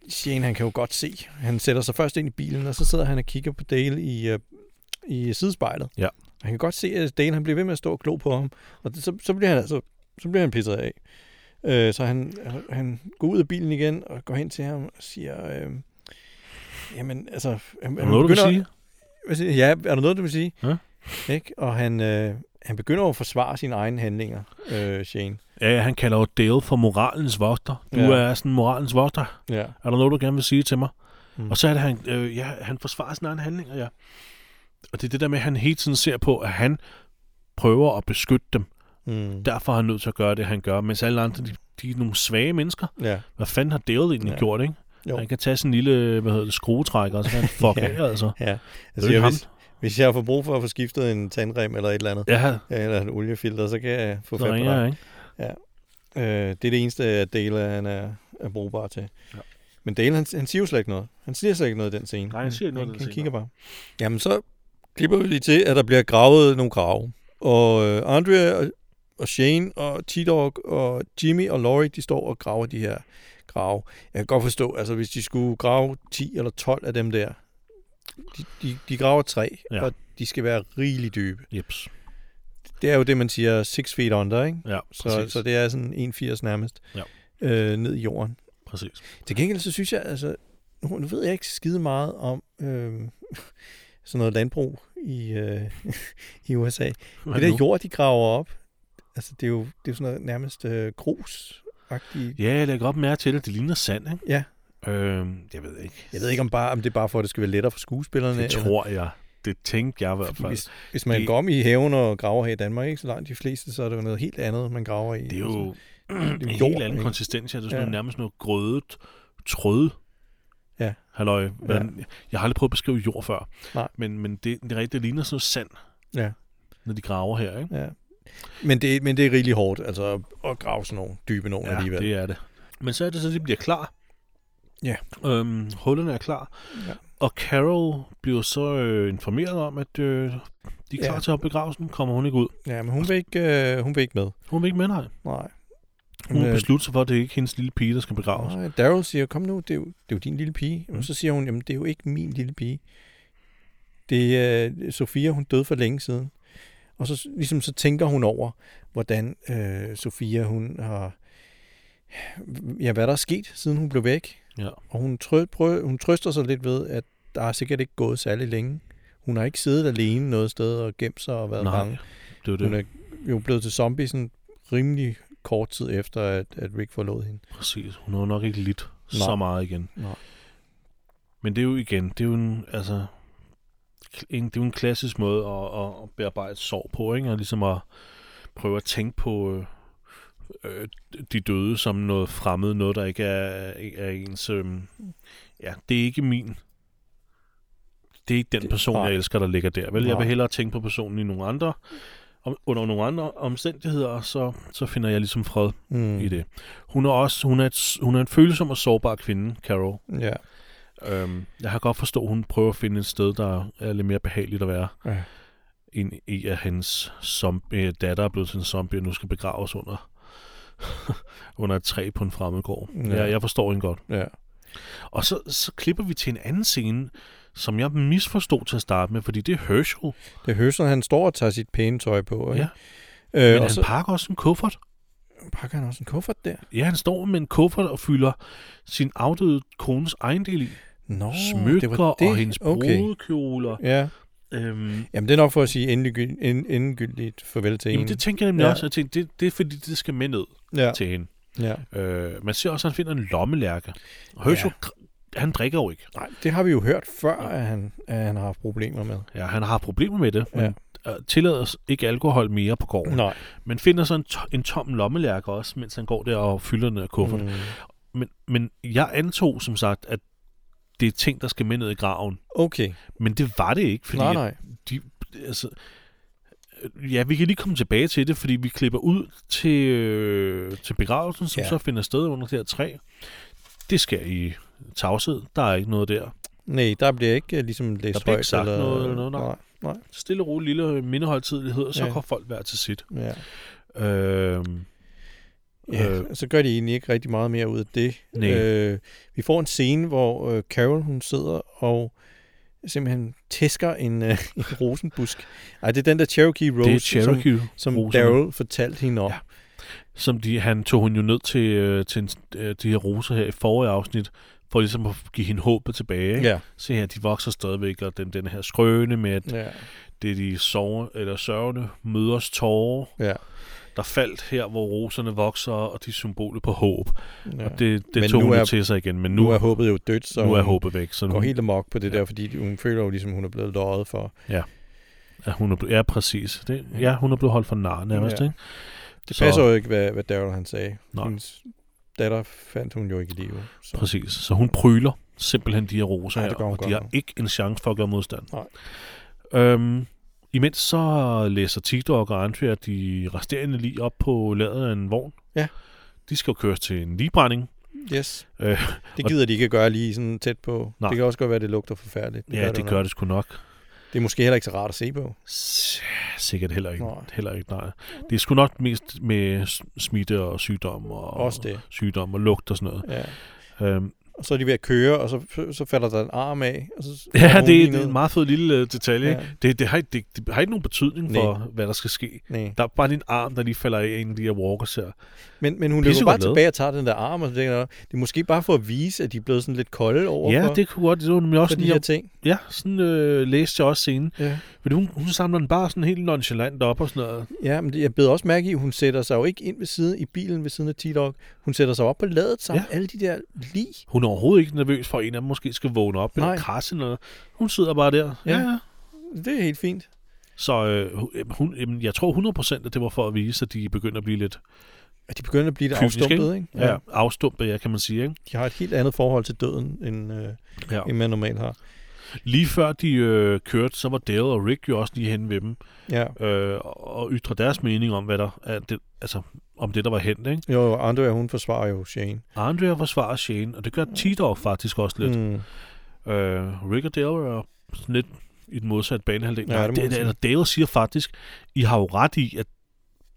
[SPEAKER 2] Shane, han kan jo godt se. Han sætter sig først ind i bilen, og så sidder han og kigger på Dale i, øh, i sidespejlet.
[SPEAKER 1] Ja.
[SPEAKER 2] Han kan godt se, at Dale han bliver ved med at stå og glo på ham. Og det, så, så, bliver han altså, så bliver han pisset af. Øh, så han, han går ud af bilen igen og går hen til ham og siger... Øh, jamen, altså... Han, han
[SPEAKER 1] er der noget, du vil
[SPEAKER 2] begynder-
[SPEAKER 1] sige?
[SPEAKER 2] hvad siger- Ja, er der noget, du vil sige?
[SPEAKER 1] Ja.
[SPEAKER 2] Ikke? Og han, øh, han begynder jo at forsvare sine egne handlinger, øh, Shane.
[SPEAKER 1] Ja, han kalder jo Dale for moralens vogter. Du
[SPEAKER 2] Ja.
[SPEAKER 1] er sådan moralens vogter.
[SPEAKER 2] Ja.
[SPEAKER 1] Er der noget, du gerne vil sige til mig? Mm.
[SPEAKER 2] Mm.
[SPEAKER 1] Og så er det, han, øh, ja, han forsvarer sine egne handlinger, ja. Og det er det der med, at han hele tiden ser på, at han prøver at beskytte dem.
[SPEAKER 2] Mm.
[SPEAKER 1] Derfor er han nødt til at gøre det, han gør. Mens alle andre, de, de er nogle svage mennesker.
[SPEAKER 2] Ja.
[SPEAKER 1] Hvad fanden har Dale egentlig ja.
[SPEAKER 2] Ja.
[SPEAKER 1] gjort, ikke? Jo.
[SPEAKER 2] Jo.
[SPEAKER 1] Han kan tage sin lille, hvad hedder det, skruetrækker, og så kan
[SPEAKER 2] (laughs)
[SPEAKER 1] han fuck
[SPEAKER 2] Ja.
[SPEAKER 1] af, altså.
[SPEAKER 2] ja.
[SPEAKER 1] Altså,
[SPEAKER 2] Altså,
[SPEAKER 1] det er
[SPEAKER 2] jeg,
[SPEAKER 1] jo ham.
[SPEAKER 2] hvis, hvis jeg får brug for at få skiftet en tandrem eller et eller andet,
[SPEAKER 1] Ja,
[SPEAKER 2] ja. eller en oliefilter, så kan jeg få
[SPEAKER 1] så
[SPEAKER 2] fat på
[SPEAKER 1] ringer
[SPEAKER 2] dig.
[SPEAKER 1] jeg, ikke?
[SPEAKER 2] Øh, det er det eneste, at Dale han er, er brugbar til.
[SPEAKER 1] Ja.
[SPEAKER 2] Ja. Men Dale, han, han siger jo slet ikke noget. Han siger slet ikke noget i den scene.
[SPEAKER 1] Nej, han siger ikke noget i
[SPEAKER 2] han,
[SPEAKER 1] den
[SPEAKER 2] han
[SPEAKER 1] scene,
[SPEAKER 2] kigger bare.
[SPEAKER 3] Jamen, så klipper vi lige til, at der bliver gravet nogle grave.
[SPEAKER 2] Og øh, Andrea og, og Shane og T-Dog og Jimmy og Laurie, de står og graver de her grave. Jeg kan godt forstå, altså hvis de skulle grave 10 eller 12 af dem der, de, de, de graver tre,
[SPEAKER 1] Ja.
[SPEAKER 2] ja. og de skal være rigeligt dybe.
[SPEAKER 1] Jeps.
[SPEAKER 2] Det er jo det, man siger 6 feet under, ikke?
[SPEAKER 1] Ja,
[SPEAKER 2] Så,
[SPEAKER 1] præcis.
[SPEAKER 2] så det er sådan 1,80 nærmest
[SPEAKER 1] Ja.
[SPEAKER 2] øh, ned i jorden.
[SPEAKER 1] præcis.
[SPEAKER 2] Til gengæld så synes jeg, altså, nu, nu ved jeg ikke skide meget om øh, (laughs) sådan noget landbrug i, øh, (laughs) i USA. Det
[SPEAKER 1] Men
[SPEAKER 2] der
[SPEAKER 1] nu-
[SPEAKER 2] jord, de graver op, altså det er jo, det er jo sådan noget nærmest øh, grus -agtigt.
[SPEAKER 1] Ja, jeg lægger godt mærke til det. Det ligner sand, ikke?
[SPEAKER 2] Ja.
[SPEAKER 1] Øhm, jeg ved ikke.
[SPEAKER 2] Jeg ved ikke, om, bare, om det er bare for, at det skal være lettere for skuespillerne.
[SPEAKER 1] Det tror jeg. Det tænkte jeg i hvert
[SPEAKER 2] eller,
[SPEAKER 1] fald.
[SPEAKER 2] hvis, hvis man
[SPEAKER 1] Det-
[SPEAKER 2] går om i haven og graver her i Danmark, ikke så langt de fleste, så er det jo noget helt andet, man graver i.
[SPEAKER 1] Det er jo
[SPEAKER 2] altså,
[SPEAKER 1] (clears throat)
[SPEAKER 2] er
[SPEAKER 1] en
[SPEAKER 2] jo
[SPEAKER 1] helt
[SPEAKER 2] jord,
[SPEAKER 1] anden
[SPEAKER 2] ikke?
[SPEAKER 1] konsistens. ja. Det er sådan
[SPEAKER 2] Ja.
[SPEAKER 1] noget, nærmest noget grødet, trød.
[SPEAKER 2] Ja.
[SPEAKER 1] Halløj. Hvordan, Jeg har aldrig prøvet at beskrive jord før.
[SPEAKER 2] Nej.
[SPEAKER 1] Men, men det, det, er rigtigt, det ligner sådan noget sand,
[SPEAKER 2] Ja.
[SPEAKER 1] når de graver her, ikke?
[SPEAKER 2] Ja. Men, det, men det er rigtig hårdt, altså at- at grave sådan nogle dybe nogen
[SPEAKER 1] Ja,
[SPEAKER 2] alligevel.
[SPEAKER 1] det er det. Men så er det så, at de bliver klar.
[SPEAKER 2] Ja.
[SPEAKER 1] Øhm, hullerne er klar.
[SPEAKER 2] Ja.
[SPEAKER 1] Og Carol bliver så øh, informeret om, at øh, de er klar
[SPEAKER 2] Ja.
[SPEAKER 1] til at begravelsen. Kommer hun ikke ud?
[SPEAKER 2] Ja, men hun vil ikke, øh, hun vil ikke med.
[SPEAKER 1] Hun vil ikke med, nej.
[SPEAKER 2] Nej.
[SPEAKER 1] Hun
[SPEAKER 2] Øh,
[SPEAKER 1] beslutter sig for, at det er ikke hendes lille pige, der skal begraves.
[SPEAKER 2] Nej, Daryl siger, kom nu, det er jo, det er jo din lille pige.
[SPEAKER 1] Mm.
[SPEAKER 2] Og så siger hun, jamen det er jo ikke min lille pige. Det er øh, Sofia, hun døde for længe siden. Og så, s- ligesom, så tænker hun over, hvordan øh, Sofia, hun har... Ja, hvad der er sket, siden hun blev væk.
[SPEAKER 1] Ja.
[SPEAKER 2] Og hun, trø, prø, hun trøster sig lidt ved, at der er sikkert ikke gået særlig længe. Hun har ikke siddet alene noget sted og gemt sig og været
[SPEAKER 1] Nej,
[SPEAKER 2] bange.
[SPEAKER 1] det er
[SPEAKER 2] Hun
[SPEAKER 1] det.
[SPEAKER 2] er jo blevet til zombie sådan rimelig kort tid efter, at, at Rick forlod hende.
[SPEAKER 1] Præcis. Hun har jo nok ikke lidt
[SPEAKER 2] Nej.
[SPEAKER 1] så meget igen.
[SPEAKER 2] Nej.
[SPEAKER 1] Men det er jo igen, det er jo en, altså, en, det er jo en klassisk måde at, at- at bearbejde sorg på, ikke? Og ligesom at prøve at tænke på øh, øh, de døde som noget fremmed, noget der ikke er, ikke er ens... Øh, ja, det er ikke min... Det er ikke den
[SPEAKER 2] Det-
[SPEAKER 1] person,
[SPEAKER 2] nej.
[SPEAKER 1] jeg elsker, der ligger der. Vel, jeg
[SPEAKER 2] Nej.
[SPEAKER 1] vil hellere tænke på personen i nogle andre, om, under nogle andre omstændigheder, og så, så finder jeg ligesom fred
[SPEAKER 2] Mm.
[SPEAKER 1] i det. Hun er også hun er, et, hun er en følsom og sårbar kvinde, Carol.
[SPEAKER 2] Ja.
[SPEAKER 1] Øhm, jeg har godt forstået, at hun prøver at finde et sted, der er lidt mere behageligt at være,
[SPEAKER 2] Ja.
[SPEAKER 1] end i at hendes zomb- øh, datter er blevet til en zombie, og nu skal begraves under, (laughs) under et træ på en fremmed gård.
[SPEAKER 2] Ja.
[SPEAKER 1] Ja. Ja, jeg forstår hende godt.
[SPEAKER 2] Ja.
[SPEAKER 1] Og så, så klipper vi til en anden scene, som jeg misforstod til at starte med, fordi det er Herschel.
[SPEAKER 2] Det høres, når han står og tager sit pæne tøj på. Ikke?
[SPEAKER 1] Ja.
[SPEAKER 2] Øh,
[SPEAKER 1] Men
[SPEAKER 2] og
[SPEAKER 1] han
[SPEAKER 2] så
[SPEAKER 1] pakker også en kuffert.
[SPEAKER 2] pakker han også en kuffert der.
[SPEAKER 1] Ja, han står med en kuffert og fylder sin afdøde kones ejendel i.
[SPEAKER 2] Nå,
[SPEAKER 1] Smykker det og hendes
[SPEAKER 2] okay.
[SPEAKER 1] brudekjoler.
[SPEAKER 2] Ja.
[SPEAKER 1] Øhm,
[SPEAKER 2] Jamen, det er nok for at sige endegyldigt, end, endegyldigt farvel til
[SPEAKER 1] Jamen,
[SPEAKER 2] hende.
[SPEAKER 1] det tænker jeg nemlig
[SPEAKER 2] Ja.
[SPEAKER 1] også. Jeg tænkte, det, det er fordi, det skal med ned
[SPEAKER 2] ja.
[SPEAKER 1] til hende.
[SPEAKER 2] ja.
[SPEAKER 1] Øh, man ser også, at han finder en lommelærke. Og Herschel, ja. han drikker jo ikke.
[SPEAKER 2] Nej, det har vi jo hørt før, at han, at han har haft problemer med.
[SPEAKER 1] Ja, han har problemer med det, men ja. tillader s- ikke alkohol mere på gården.
[SPEAKER 2] Nej.
[SPEAKER 1] Men finder så en, to- en tom lommelærke også, mens han går der og fylder den af kufferten.
[SPEAKER 2] Mm.
[SPEAKER 1] Mm. Men, men jeg antog, som sagt, at det er ting, der skal med ned i graven.
[SPEAKER 2] Okay.
[SPEAKER 1] Men det var det ikke, fordi
[SPEAKER 2] nej, nej.
[SPEAKER 1] de, altså, øh, ja, vi kan lige komme tilbage til det, fordi vi klipper ud til, øh, til begravelsen, som ja.
[SPEAKER 2] Ja.
[SPEAKER 1] så finder sted under det her træ. Det sker i tavshed. Der er ikke noget der.
[SPEAKER 2] Nej, der bliver ikke øh, ligesom læst
[SPEAKER 1] Der bliver ikke
[SPEAKER 2] højt
[SPEAKER 1] sagt noget eller noget, nej.
[SPEAKER 2] nej.
[SPEAKER 1] Stille og roligt lille mindehøjtidlighed, og så ja.
[SPEAKER 2] Ja.
[SPEAKER 1] kan folk være til sit.
[SPEAKER 2] Ja.
[SPEAKER 1] Øh,
[SPEAKER 2] Ja, øh, så gør de egentlig ikke rigtig meget mere ud af det.
[SPEAKER 1] Nej.
[SPEAKER 2] Øh, vi får en scene, hvor øh, Carol hun sidder og simpelthen tæsker en, øh, (laughs) en rosenbusk. Ej, det er den der Cherokee Rose,
[SPEAKER 1] det er
[SPEAKER 2] som,
[SPEAKER 1] Cherokee,
[SPEAKER 2] som
[SPEAKER 1] roserne.
[SPEAKER 2] Daryl fortalte hende om.
[SPEAKER 1] Ja. som de, han tog hun jo ned til, øh, til en, øh, de her roser her i forrige afsnit, for ligesom at give hende håbet tilbage. ikke?
[SPEAKER 2] ja.
[SPEAKER 1] Se her, de vokser stadigvæk, og den, den her skrøne med, at
[SPEAKER 2] ja.
[SPEAKER 1] Det er de sove, eller sørgende møders tårer,
[SPEAKER 2] ja.
[SPEAKER 1] der faldt her, hvor roserne vokser, og de symboler på håb.
[SPEAKER 2] ja.
[SPEAKER 1] Ja. Det, det
[SPEAKER 2] Men
[SPEAKER 1] tog
[SPEAKER 2] nu
[SPEAKER 1] hun
[SPEAKER 2] er-
[SPEAKER 1] jo til sig igen, men nu,
[SPEAKER 2] nu er håbet jo dødt, så
[SPEAKER 1] nu er
[SPEAKER 2] hun
[SPEAKER 1] håbet væk. Så
[SPEAKER 2] går
[SPEAKER 1] nu,
[SPEAKER 2] helt amok på det der, fordi hun føler jo ligesom, hun er blevet løjet for.
[SPEAKER 1] ja, hun er blevet, ja, præcis. Det, ja, hun er blevet holdt for nar nærmest, ja.
[SPEAKER 2] Ja.
[SPEAKER 1] ikke?
[SPEAKER 2] Det
[SPEAKER 1] Så-
[SPEAKER 2] passer jo ikke, hvad, hvad Daryl han sagde.
[SPEAKER 1] Nej.
[SPEAKER 2] Hendes datter fandt hun jo ikke i live. Så.
[SPEAKER 1] Præcis. Så hun pryler simpelthen de her roser
[SPEAKER 2] Ja, det
[SPEAKER 1] her,
[SPEAKER 2] gør hun
[SPEAKER 1] og de
[SPEAKER 2] godt
[SPEAKER 1] har
[SPEAKER 2] nok.
[SPEAKER 1] ikke en chance for at gøre modstand.
[SPEAKER 2] Nej.
[SPEAKER 1] Øhm, imens så læser TikTok og Andrea de resterende lige op på ladet af en vogn.
[SPEAKER 2] Ja.
[SPEAKER 1] De skal jo køres til en ligebrænding.
[SPEAKER 2] Yes.
[SPEAKER 1] Øh,
[SPEAKER 2] Øh, det gider de ikke at gøre lige sådan tæt på.
[SPEAKER 1] Nej.
[SPEAKER 2] Nej. Det kan også godt være, at det lugter forfærdeligt.
[SPEAKER 1] Det ja, det
[SPEAKER 2] nok.
[SPEAKER 1] gør det sgu nok.
[SPEAKER 2] Det er måske heller ikke så rart at se på.
[SPEAKER 1] S- Sikkert heller ikke.
[SPEAKER 2] Nej.
[SPEAKER 1] Heller ikke, nej. Det er sgu nok mest med s- smitte og sygdom og,
[SPEAKER 2] Også det.
[SPEAKER 1] sygdom og lugt og sådan noget.
[SPEAKER 2] Ja.
[SPEAKER 1] Øhm,
[SPEAKER 2] Og så er de ved at køre, og så, så falder der en arm af. Og så
[SPEAKER 1] (laughs) ja, det, det er en meget fed lille øh, detalje. Ja.
[SPEAKER 2] Ja.
[SPEAKER 1] Det, det, har, ikke- det, det har ikke nogen betydning
[SPEAKER 2] Nej.
[SPEAKER 1] for, hvad der skal ske.
[SPEAKER 2] Nej.
[SPEAKER 1] Der er bare din arm, der lige falder af en af de her walkers her.
[SPEAKER 2] Men, men hun løber
[SPEAKER 1] Pissegodt
[SPEAKER 2] bare
[SPEAKER 1] lavet.
[SPEAKER 2] tilbage og tager den der arm, og så tænker jeg, det er måske bare for at vise, at de er blevet sådan lidt kolde over
[SPEAKER 1] Ja,
[SPEAKER 2] for,
[SPEAKER 1] det kunne godt. Det var nemlig
[SPEAKER 2] for
[SPEAKER 1] også
[SPEAKER 2] de
[SPEAKER 1] sådan,
[SPEAKER 2] her
[SPEAKER 1] jeg,
[SPEAKER 2] ting.
[SPEAKER 1] ja, sådan øh, læste jeg også scenen.
[SPEAKER 2] Ja.
[SPEAKER 1] Fordi hun, hun samler den bare sådan helt nonchalant op og sådan noget.
[SPEAKER 2] ja, men det- jeg beder også mærke i, at hun sætter sig jo ikke ind ved siden i bilen ved siden af T-Dog. Hun sætter sig op på ladet sammen. Ja. Alle de der lige.
[SPEAKER 1] Hun er overhovedet ikke nervøs for, at en af dem måske skal vågne op eller
[SPEAKER 2] Nej.
[SPEAKER 1] krasse eller noget. Hun sidder bare der.
[SPEAKER 2] Ja. Det er helt fint.
[SPEAKER 1] Så øh, hu- hun, jamen, jeg tror 100% at det var for at vise, at de begynder at blive lidt
[SPEAKER 2] Og de begynder at blive lidt
[SPEAKER 1] Kyniske, ikke?
[SPEAKER 2] afstumpet, ikke?
[SPEAKER 1] ja. Ja, afstumpet, ja, kan man sige. Ikke?
[SPEAKER 2] De har et helt andet forhold til døden, end, øh,
[SPEAKER 1] Ja.
[SPEAKER 2] end man normalt har.
[SPEAKER 1] Lige før de øh, kørte, så var Dale og Rick jo også lige henne ved dem
[SPEAKER 2] Ja.
[SPEAKER 1] øh, og- og ytre deres mening om, hvad der er det, altså, om det, der var hent. Ikke?
[SPEAKER 2] Jo, Andrea, hun forsvarer jo Shane.
[SPEAKER 1] Andrea forsvarer Shane, og det gør T-Dog faktisk også lidt.
[SPEAKER 2] Mm.
[SPEAKER 1] Øh, Rick og Dale er sådan lidt i den modsatte banehalvdel.
[SPEAKER 2] Ja,
[SPEAKER 1] Ja,
[SPEAKER 2] det må
[SPEAKER 1] det,
[SPEAKER 2] man sige.
[SPEAKER 1] eller Dale siger faktisk, I har jo ret i, at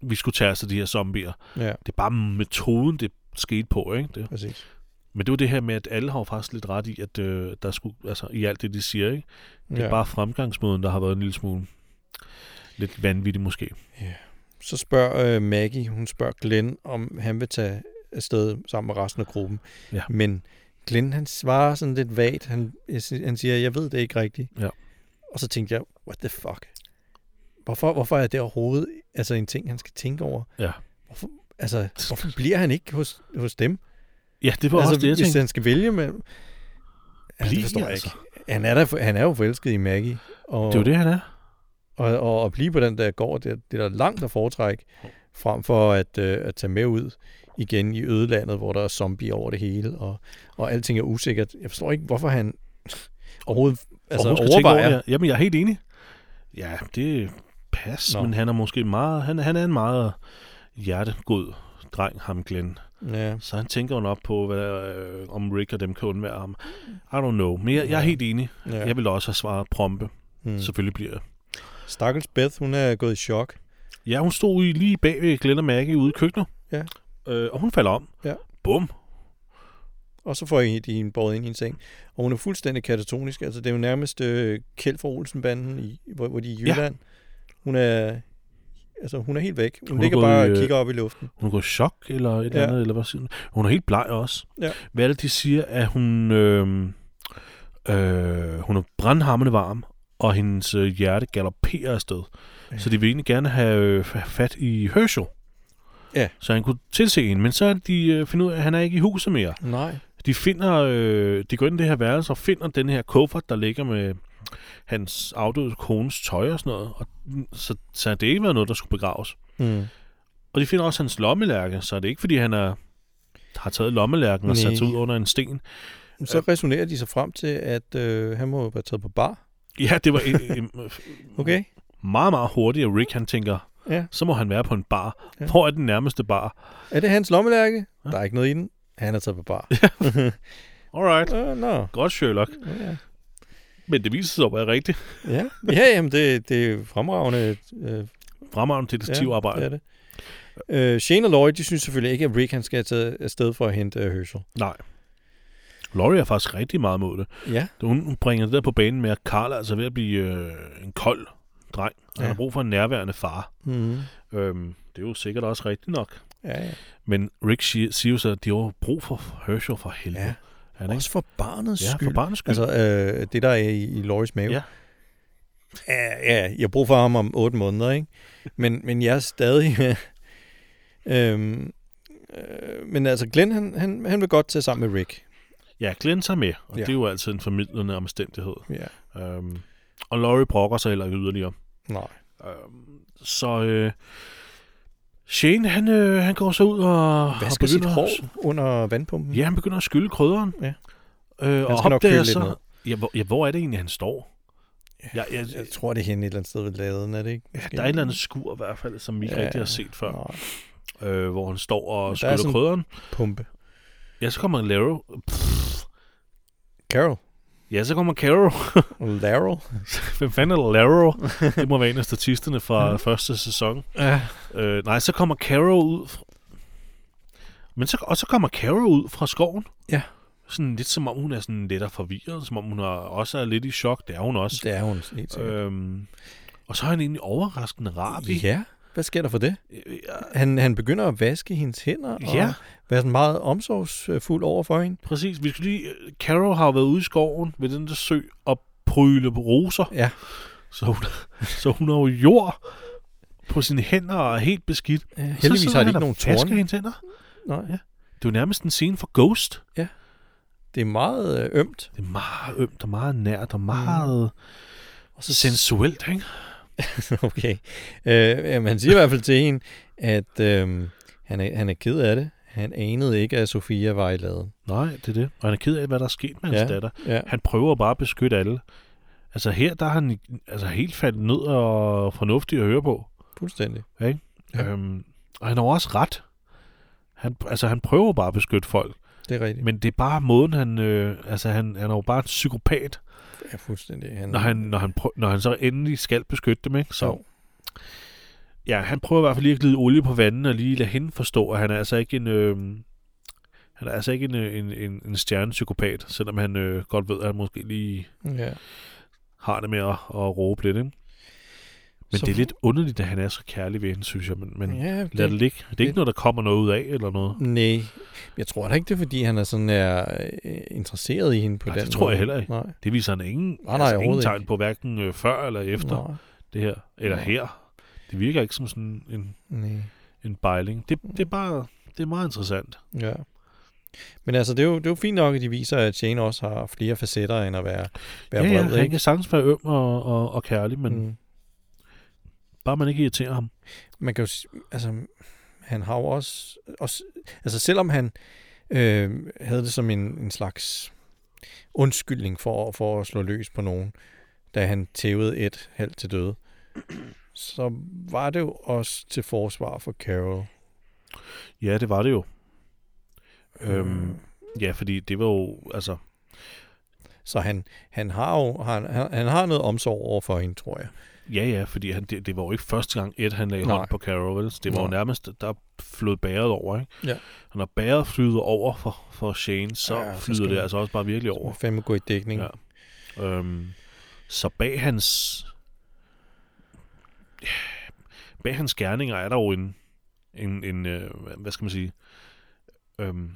[SPEAKER 1] vi skulle tage os af de her zombier.
[SPEAKER 2] Ja,
[SPEAKER 1] Det er bare metoden, det skete på, ikke? Det.
[SPEAKER 2] præcis.
[SPEAKER 1] Men det var det her med, at alle har jo faktisk lidt ret i, at øh, der skulle, altså i alt det, de siger, ikke? Det er
[SPEAKER 2] Ja.
[SPEAKER 1] bare fremgangsmåden, der har været en lille smule lidt vanvittig måske.
[SPEAKER 2] Så spørger øh, Maggie, hun spørger Glenn, om han vil tage afsted sammen med resten af gruppen.
[SPEAKER 1] Ja.
[SPEAKER 2] Men Glenn, han svarer sådan lidt vagt. Han, jeg si- han siger, jeg ved det ikke rigtigt.
[SPEAKER 1] Ja.
[SPEAKER 2] Og så tænkte jeg, what the fuck? Hvorfor, hvorfor er det overhovedet altså en ting, han skal tænke over?
[SPEAKER 1] Ja.
[SPEAKER 2] Hvorfor, altså, hvorfor bliver han ikke hos, hos dem?
[SPEAKER 1] Ja, det var altså, også det, jeg
[SPEAKER 2] hvis
[SPEAKER 1] tænkte.
[SPEAKER 2] han skal vælge mellem... Ja,
[SPEAKER 1] Bliv,
[SPEAKER 2] det forstår jeg
[SPEAKER 1] altså.
[SPEAKER 2] ikke. Han er, der, han er jo forelsket i Maggie. Og,
[SPEAKER 1] Det var det, han er.
[SPEAKER 2] Og, og at blive på den der gård, det, er- det er der langt at foretrække, frem for at, øh, at tage med ud igen i ødelandet, hvor der er zombie over det hele, og, og alting er usikkert. Jeg forstår ikke, hvorfor han overhovedet altså,
[SPEAKER 1] Og hun skal tænke over
[SPEAKER 2] overvejer.
[SPEAKER 1] det her. Jamen, jeg er helt enig. Ja, det pas, Nå.
[SPEAKER 2] Nå.
[SPEAKER 1] men han er måske meget, han, han er en meget hjertegod dreng, ham Glenn.
[SPEAKER 2] Ja.
[SPEAKER 1] Så han tænker jo nok på, hvad, øh, om Rick og dem kan undvære ham. I don't know, men jeg, jeg er
[SPEAKER 2] Ja.
[SPEAKER 1] helt enig. Ja.
[SPEAKER 2] Ja.
[SPEAKER 1] Jeg vil også have svaret prompe.
[SPEAKER 2] Mm.
[SPEAKER 1] Mm. Selvfølgelig bliver jeg.
[SPEAKER 2] Stakkels Beth, hun er gået i chok.
[SPEAKER 1] Ja, hun stod i- lige bag ved Glenn og Maggie ude i køkkenet.
[SPEAKER 2] Ja.
[SPEAKER 1] Øh, og hun falder om.
[SPEAKER 2] Ja.
[SPEAKER 1] Bum.
[SPEAKER 2] Og så får I de hende båret ind i en seng. Og hun er fuldstændig katatonisk. Altså, det er jo nærmest øh, Kjeld fra Olsenbanden, i, hvor, hvor de er
[SPEAKER 1] Ja.
[SPEAKER 2] i Jylland. Hun er... Altså, hun er helt væk. Hun,
[SPEAKER 1] Hun er
[SPEAKER 2] hun ligger
[SPEAKER 1] gået
[SPEAKER 2] bare
[SPEAKER 1] i, øh,
[SPEAKER 2] og kigger op i luften.
[SPEAKER 1] Hun er gået i chok, eller et ja. eller
[SPEAKER 2] Ja.
[SPEAKER 1] andet, eller hvad siger hun? Hun er helt bleg også.
[SPEAKER 2] Ja.
[SPEAKER 1] Hvad er det, de siger, at hun, øh, øh, hun er brandhammende varm, og hendes øh, hjerte galopperer afsted. Ja.
[SPEAKER 2] Ja.
[SPEAKER 1] Så de vil egentlig gerne have øh, have fat i Herschel.
[SPEAKER 2] Ja.
[SPEAKER 1] Så han kunne tilse en, men så er de øh, finder ud af, at han er ikke i huset mere.
[SPEAKER 2] Nej.
[SPEAKER 1] De finder, øh, de går ind i det her værelse og finder den her kuffert, der ligger med hans afdøde kones tøj og sådan noget. Og, mm, så, så det ikke været noget, der skulle begraves.
[SPEAKER 2] Mm.
[SPEAKER 1] Og de finder også hans lommelærke, så det er ikke, fordi han er, har taget lommelærken og sat sig
[SPEAKER 2] Nej.
[SPEAKER 1] ud under en sten.
[SPEAKER 2] Så resonerer de sig frem til, at øh, han må jo være taget på bar.
[SPEAKER 1] Ja, det var en, en, Mm.
[SPEAKER 2] Okay?
[SPEAKER 1] meget, meget hurtigt, at Rick han tænker,
[SPEAKER 2] Ja.
[SPEAKER 1] så må han være på en bar.
[SPEAKER 2] Ja.
[SPEAKER 1] Hvor er den nærmeste bar?
[SPEAKER 2] Er det hans lommelærke?
[SPEAKER 1] Ja.
[SPEAKER 2] Ja. Der er ikke noget i den. Han er taget på bar.
[SPEAKER 1] (laughs) Alright.
[SPEAKER 2] Åh, Nå.
[SPEAKER 1] Godt, Sherlock.
[SPEAKER 2] Ja.
[SPEAKER 1] Men det viser sig at være rigtigt.
[SPEAKER 2] Ja,
[SPEAKER 1] (laughs)
[SPEAKER 2] ja jamen det, det er fremragende øh,
[SPEAKER 1] Fremragende
[SPEAKER 2] ja,
[SPEAKER 1] detektivarbejde.
[SPEAKER 2] det er det. Øh, Shane og Lloyd, de synes selvfølgelig ikke, at Rick han skal have taget afsted for at hente øh, Herschel.
[SPEAKER 1] Nej. Laurie er faktisk rigtig meget mod det.
[SPEAKER 2] Ja.
[SPEAKER 1] Hun hun bringer det der på banen med, at Carl er altså ved at blive øh, en kold dreng. og Han
[SPEAKER 2] Ja.
[SPEAKER 1] har brug for en nærværende far.
[SPEAKER 2] Mm.
[SPEAKER 1] Øhm, det er jo sikkert også rigtigt nok.
[SPEAKER 2] Ja, ja.
[SPEAKER 1] Men Rick si- siger jo så, at de har brug for Herschel for helvede.
[SPEAKER 2] ja.
[SPEAKER 1] Han er ikke
[SPEAKER 2] Også for barnets
[SPEAKER 1] ja,
[SPEAKER 2] skyld.
[SPEAKER 1] for barnets skyld. Altså,
[SPEAKER 2] Altså øh, det, der er i, i Loris mave.
[SPEAKER 1] Ja.
[SPEAKER 2] Ja, ja, jeg har brug for ham om otte måneder, ikke? Men, men jeg er stadig... (laughs) øhm, øh, men altså, Glenn, han, han, han vil godt tage sammen med Rick.
[SPEAKER 1] ja, Glenn tager med, og ja.
[SPEAKER 2] Ja.
[SPEAKER 1] det er jo altid en formidlende omstændighed.
[SPEAKER 2] Ja.
[SPEAKER 1] Øhm, og Laurie brokker sig heller ikke yderligere.
[SPEAKER 2] Nej.
[SPEAKER 1] Øhm, så øh, Shane, han, øh, han går så ud og,
[SPEAKER 2] Hvad
[SPEAKER 1] og
[SPEAKER 2] skal sit
[SPEAKER 1] begynder-
[SPEAKER 2] hår under vandpumpen?
[SPEAKER 1] Ja, han begynder at skylde krydderen.
[SPEAKER 2] Ja.
[SPEAKER 1] Øh, og
[SPEAKER 2] skal nok
[SPEAKER 1] opdager
[SPEAKER 2] køle lidt
[SPEAKER 1] så...
[SPEAKER 2] ned.
[SPEAKER 1] Ja hvor, ja, hvor er det egentlig, han står? Ja, ja, ja,
[SPEAKER 2] Jeg tror, det er hende et eller andet sted ved laden, er det ikke? Måske?
[SPEAKER 1] der er et eller andet skur i hvert fald, som vi ikke ja,
[SPEAKER 2] Ja,
[SPEAKER 1] rigtig har set før,
[SPEAKER 2] Nej,
[SPEAKER 1] øh, hvor han står og
[SPEAKER 2] Men der
[SPEAKER 1] skylder
[SPEAKER 2] er sådan-
[SPEAKER 1] krydderen.
[SPEAKER 2] pumpe.
[SPEAKER 1] Ja, så kommer Laro. Pff.
[SPEAKER 2] Carol.
[SPEAKER 1] Ja, så kommer Carol. (laughs)
[SPEAKER 2] Laryl.
[SPEAKER 1] Hvem fanden er Laro? Det må være en af statisterne
[SPEAKER 2] (laughs)
[SPEAKER 1] fra første sæson.
[SPEAKER 2] Ja.
[SPEAKER 1] Øh, nej, så kommer Carol ud. Fra... Men så, og så kommer Carol ud fra skoven.
[SPEAKER 2] Ja.
[SPEAKER 1] Sådan lidt som om hun er sådan lidt forvirret, som om hun er, også er lidt i chok. Det er hun også.
[SPEAKER 2] Det er hun helt sikkert.
[SPEAKER 1] Øhm, og så er han egentlig overraskende rar. ikke?
[SPEAKER 2] Ja, hvad sker der for det?
[SPEAKER 1] Øh,
[SPEAKER 2] Han, han begynder at vaske hendes hænder og
[SPEAKER 1] Ja.
[SPEAKER 2] være sådan meget omsorgsfuld over for hende.
[SPEAKER 1] Præcis. Vi skal lige... Carol har jo været ude i skoven ved den der sø og pryle på roser,
[SPEAKER 2] Ja,
[SPEAKER 1] så hun, (laughs) så hun har jo jord på sine hænder og er helt beskidt.
[SPEAKER 2] øh,
[SPEAKER 1] så
[SPEAKER 2] heldigvis
[SPEAKER 1] sidder
[SPEAKER 2] har de
[SPEAKER 1] han
[SPEAKER 2] ikke
[SPEAKER 1] og
[SPEAKER 2] nogen
[SPEAKER 1] vasker
[SPEAKER 2] tårne.
[SPEAKER 1] hendes hænder.
[SPEAKER 2] Nej, ja.
[SPEAKER 1] Det er jo nærmest en scene fra Ghost.
[SPEAKER 2] Det er meget øh, ømt. (laughs)
[SPEAKER 1] Det er meget ømt og meget nært og meget mm. sensuelt, ikke?
[SPEAKER 2] okay. Øh, øh, man siger i hvert fald til hende, at øh, han, er, han er ked af det. Han anede ikke, at Sofia var i laden.
[SPEAKER 1] Nej, det er det. Og han er ked af, hvad der er sket med hans
[SPEAKER 2] Ja.
[SPEAKER 1] datter.
[SPEAKER 2] Ja.
[SPEAKER 1] Han prøver bare at beskytte alle. Altså her, der er han altså, helt faldet ned og fornuftig at høre på.
[SPEAKER 2] Fuldstændig. Ja.
[SPEAKER 1] Ja. Øhm, og han har jo også ret. Han, altså, han prøver bare at beskytte folk.
[SPEAKER 2] Det er rigtigt.
[SPEAKER 1] Men det er bare måden, han... Øh, altså, han, han er jo bare en psykopat,
[SPEAKER 2] Ja, fuldstændig. Han,
[SPEAKER 1] når han, når, han prø- når han så endelig skal beskytte dem, ikke? Så...
[SPEAKER 2] Jo.
[SPEAKER 1] Ja, han prøver i hvert fald lige at glide olie på vandet og lige lade hende forstå, at han er altså ikke en... Øh, han er altså ikke en, øh, en, en, en stjernepsykopat, selvom han øh, godt ved, at han måske lige
[SPEAKER 2] Ja.
[SPEAKER 1] har det med at, at råbe lidt, ikke? Men
[SPEAKER 2] Så-
[SPEAKER 1] det er lidt underligt, at han er så kærlig ved hende, synes jeg. Men, men
[SPEAKER 2] ja,
[SPEAKER 1] lad det ligge. Det er ikke
[SPEAKER 2] det-
[SPEAKER 1] noget, der kommer noget ud af, eller noget.
[SPEAKER 2] Nej, jeg tror da ikke, det er, fordi han er sådan er øh, interesseret i hende på
[SPEAKER 1] Nej,
[SPEAKER 2] den
[SPEAKER 1] det tror jeg
[SPEAKER 2] måde.
[SPEAKER 1] heller ikke.
[SPEAKER 2] Nej.
[SPEAKER 1] Det viser han ingen,
[SPEAKER 2] Nej, nej,
[SPEAKER 1] altså ingen
[SPEAKER 2] overhovedet
[SPEAKER 1] tegn
[SPEAKER 2] ikke.
[SPEAKER 1] på, hverken øh, før eller efter
[SPEAKER 2] Nej.
[SPEAKER 1] det her. Eller
[SPEAKER 2] Nej.
[SPEAKER 1] her. Det virker ikke som sådan en,
[SPEAKER 2] Nej.
[SPEAKER 1] en bejling. Det, det er bare det er meget interessant.
[SPEAKER 2] Ja. Men altså, det er, jo, det er jo fint nok, at de viser, at Jane også har flere facetter, end at være, være
[SPEAKER 1] ja,
[SPEAKER 2] vred,
[SPEAKER 1] han
[SPEAKER 2] ikke?
[SPEAKER 1] kan sagtens være øm og, og, og kærlig, men mm.
[SPEAKER 2] Mm.
[SPEAKER 1] bare man ikke irriterer ham.
[SPEAKER 2] Man kan jo... s- Altså, han har jo også... også altså, selvom han øh, havde det som en, en slags undskyldning for, for at slå løs på nogen, da han tævede et halvt til døde, så var det jo også til forsvar for Carol.
[SPEAKER 1] Ja, det var det jo.
[SPEAKER 2] Mm.
[SPEAKER 1] Øhm, ja, fordi det var jo, altså,
[SPEAKER 2] Så han, han har jo han, han, han har noget omsorg over for hende, tror jeg.
[SPEAKER 1] ja ja, fordi han, det, det var jo ikke første gang, et han lagde
[SPEAKER 2] Nej.
[SPEAKER 1] hånd på Carol, vel? Så det var jo
[SPEAKER 2] Nej.
[SPEAKER 1] nærmest, der flød bæret over, ikke?
[SPEAKER 2] Ja.
[SPEAKER 1] Og når bæret flyder over for, for Shane, så
[SPEAKER 2] Ja,
[SPEAKER 1] ja,
[SPEAKER 2] så
[SPEAKER 1] flyder
[SPEAKER 2] skal
[SPEAKER 1] det
[SPEAKER 2] man-
[SPEAKER 1] altså også bare virkelig over.
[SPEAKER 2] Må fandme gå i dækning.
[SPEAKER 1] Ja. Øhm, så bag hans bag hans gerninger er der jo en, en, en øh, hvad skal man sige, øhm,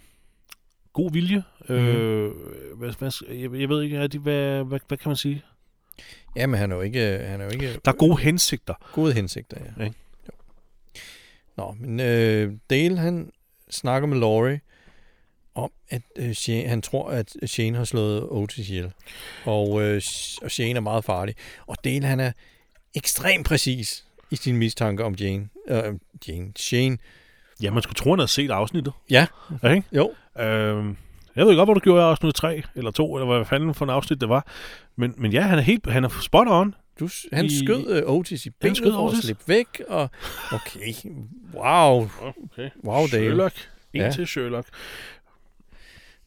[SPEAKER 1] god vilje. Mm. Øh, hvad, hvad, jeg, jeg ved ikke rigtig, hvad, hvad, hvad kan man sige?
[SPEAKER 2] Ja, men han er jo ikke, han er jo ikke
[SPEAKER 1] Der er gode hensigter.
[SPEAKER 2] gode hensigter. Ja.
[SPEAKER 1] Ikke?
[SPEAKER 2] Jo. Nå, men øh, Dale, han snakker med Laurie om, at øh, Shane, han tror, at Shane har slået Otis ihjel. Og, øh, Sh- og Shane er meget farlig. Og Dale, han er ekstremt præcis i sine mistanker om Jane. Øh, Jane. Shane.
[SPEAKER 1] Ja, man skulle tro, han havde set afsnittet.
[SPEAKER 2] Ja,
[SPEAKER 1] Ikke?
[SPEAKER 2] jo.
[SPEAKER 1] Øhm, jeg ved godt, hvor du gjorde i afsnit 3 eller 2, eller hvad fanden for en afsnit det var. Men, men ja, han er helt han er spot on.
[SPEAKER 2] Du, han
[SPEAKER 1] I-
[SPEAKER 2] skød øh, Otis i benet
[SPEAKER 1] skød
[SPEAKER 2] for at
[SPEAKER 1] Otis?
[SPEAKER 2] slippe væk. Og, okay, wow.
[SPEAKER 1] Okay.
[SPEAKER 2] Wow, Dale.
[SPEAKER 1] Sherlock. En
[SPEAKER 2] Ja.
[SPEAKER 1] ja. til Sherlock.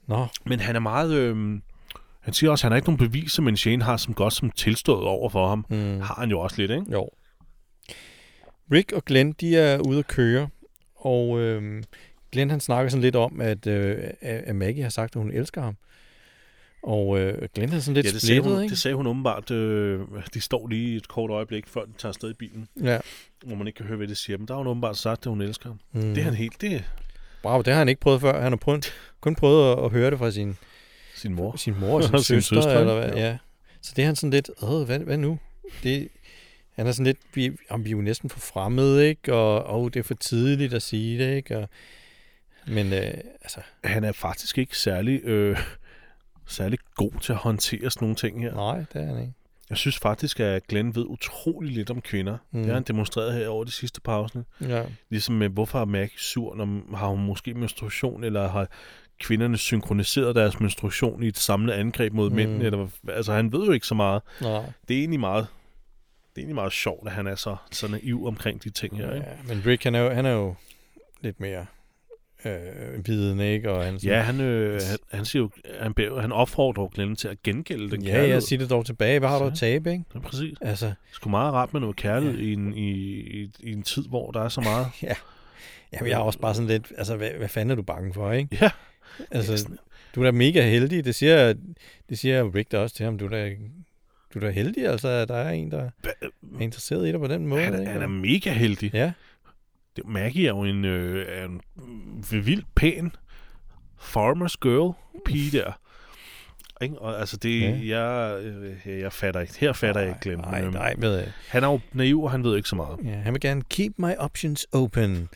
[SPEAKER 2] Nå,
[SPEAKER 1] Men han er meget... Øh, han siger også, at han har ikke nogen beviser, men Shane har som godt som tilstået over for ham.
[SPEAKER 2] mm.
[SPEAKER 1] Har han jo også lidt, ikke?
[SPEAKER 2] Jo. Rick og Glenn, de er ude at køre, og øhm, Glenn han snakker sådan lidt om, at, øh, at at Maggie har sagt, at hun elsker ham. Og øh, Glenn er sådan lidt ja,
[SPEAKER 1] det, sagde
[SPEAKER 2] splittet,
[SPEAKER 1] hun,
[SPEAKER 2] ikke?
[SPEAKER 1] det sagde hun åbenbart. Øh, de står lige et kort øjeblik, før de tager afsted i bilen,
[SPEAKER 2] Ja.
[SPEAKER 1] hvor man ikke kan høre, hvad de siger. Men der har hun åbenbart sagt, at hun elsker ham. Mm.
[SPEAKER 2] Mm.
[SPEAKER 1] Det er han helt... Det er
[SPEAKER 2] Wow, det har han ikke prøvet før. Han har prøvet, kun prøvet at, at høre det fra sin,
[SPEAKER 1] sin mor.
[SPEAKER 2] sin mor
[SPEAKER 1] (laughs)
[SPEAKER 2] og sin,
[SPEAKER 1] Og sin
[SPEAKER 2] søster,
[SPEAKER 1] søster,
[SPEAKER 2] eller
[SPEAKER 1] ikke?
[SPEAKER 2] hvad?
[SPEAKER 1] Jo.
[SPEAKER 2] Ja. Så det er han sådan lidt, Åh, hvad, hvad nu? Det, han er sådan lidt, vi, jamen, vi er jo næsten for fremmede, ikke? Og, og det er for tidligt at sige det, ikke? Og, men øh, altså,
[SPEAKER 1] Han er faktisk ikke særlig... Øh, særlig god til at håndtere sådan nogle ting her.
[SPEAKER 2] nej, det er han ikke.
[SPEAKER 1] Jeg synes faktisk, at Glenn ved utrolig lidt om kvinder. Mm.
[SPEAKER 2] Mm.
[SPEAKER 1] Det har han demonstreret her over de sidste par afsnit.
[SPEAKER 2] Ja.
[SPEAKER 1] Ligesom med, hvorfor er Maggie sur, når har hun måske menstruation, eller har kvinderne synkroniseret deres menstruation i et samlet angreb mod mm.
[SPEAKER 2] Mm.
[SPEAKER 1] mændene? Eller, hvad- altså, han ved jo ikke så meget.
[SPEAKER 2] Nej.
[SPEAKER 1] Det er egentlig meget, det er egentlig meget sjovt, at han er så, så naiv omkring de ting her. Ikke?
[SPEAKER 2] Ja, men Rick, han er jo, han er jo lidt mere øh, øh, biden, ikke? Og han sådan,
[SPEAKER 1] Ja, han, øh, han, han, siger jo, han, beder- han opfordrer jo Glenn til at gengælde den
[SPEAKER 2] ja,
[SPEAKER 1] kærlighed.
[SPEAKER 2] jeg siger det dog tilbage. Hvad har du at
[SPEAKER 1] Så.
[SPEAKER 2] tabe, ikke?
[SPEAKER 1] Ja, præcis.
[SPEAKER 2] Altså,
[SPEAKER 1] Sgu meget rart med noget kærlighed i, en, i, i, i en tid, hvor der er så meget.
[SPEAKER 2] jamen, jeg er også bare sådan lidt, altså, hvad, hvad fanden er du bange for, ikke?
[SPEAKER 1] Ja,
[SPEAKER 2] Altså, du er da mega heldig. Det siger, det siger Rick da også til ham. Du er da, du er da heldig, altså, at der er en, der er interesseret i dig på den måde.
[SPEAKER 1] han, er-
[SPEAKER 2] ikke?
[SPEAKER 1] han er mega heldig.
[SPEAKER 2] Ja,
[SPEAKER 1] Det- Maggie er jo en, øh, er en øh, vildt pæn farmers girl pige der. Ikke? Og altså det, ja. jeg, øh, jeg fatter ikke. Her fatter jeg ikke Glenn.
[SPEAKER 2] nej,
[SPEAKER 1] Øhm,
[SPEAKER 2] nej, ved jeg.
[SPEAKER 1] Han er jo naiv, og han ved ikke så meget.
[SPEAKER 2] Ja, han vil gerne keep my options open.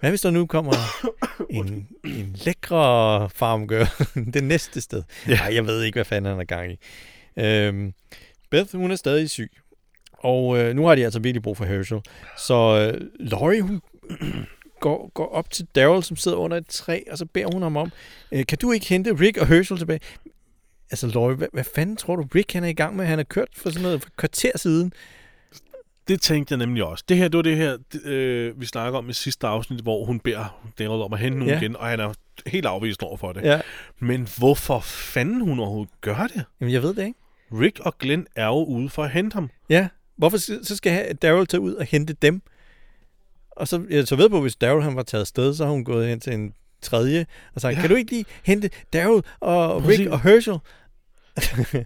[SPEAKER 2] Hvad hvis der nu (coughs) kommer en, en lækre farmgirl (laughs) det næste sted?
[SPEAKER 1] Ja.
[SPEAKER 2] Ja. Ej, jeg ved ikke, hvad fanden han er gang i. Øhm, Beth, hun er stadig syg. Og øh, nu har de altså virkelig brug for Herschel. Så øh, Laurie, hun (clears throat) går, går op til Daryl, som sidder under et træ, og så beder hun ham om, øh, kan du ikke hente Rick og Herschel tilbage? Altså, Laurie, hvad, hvad fanden tror du, Rick han er i gang med? Han har kørt for sådan noget for et kvarter siden.
[SPEAKER 1] Det tænkte jeg nemlig også. Det her, det var det her, det, øh, vi snakker om i sidste afsnit, hvor hun beder Daryl om at hente nogen
[SPEAKER 2] Ja.
[SPEAKER 1] igen, og han er helt afvist over for det.
[SPEAKER 2] Ja.
[SPEAKER 1] Men hvorfor fanden hun overhovedet gør det?
[SPEAKER 2] Jamen, jeg ved det ikke.
[SPEAKER 1] Rick og Glenn er jo ude for at hente ham.
[SPEAKER 2] Ja, hvorfor s- så skal ha- Daryl tage ud og hente dem? Og så, jeg så ved på, hvis Daryl han var taget afsted, så har hun gået hen til en tredje og sagt,
[SPEAKER 1] Ja.
[SPEAKER 2] ja. kan du ikke lige hente Daryl og
[SPEAKER 1] Præcis.
[SPEAKER 2] Rick og Herschel?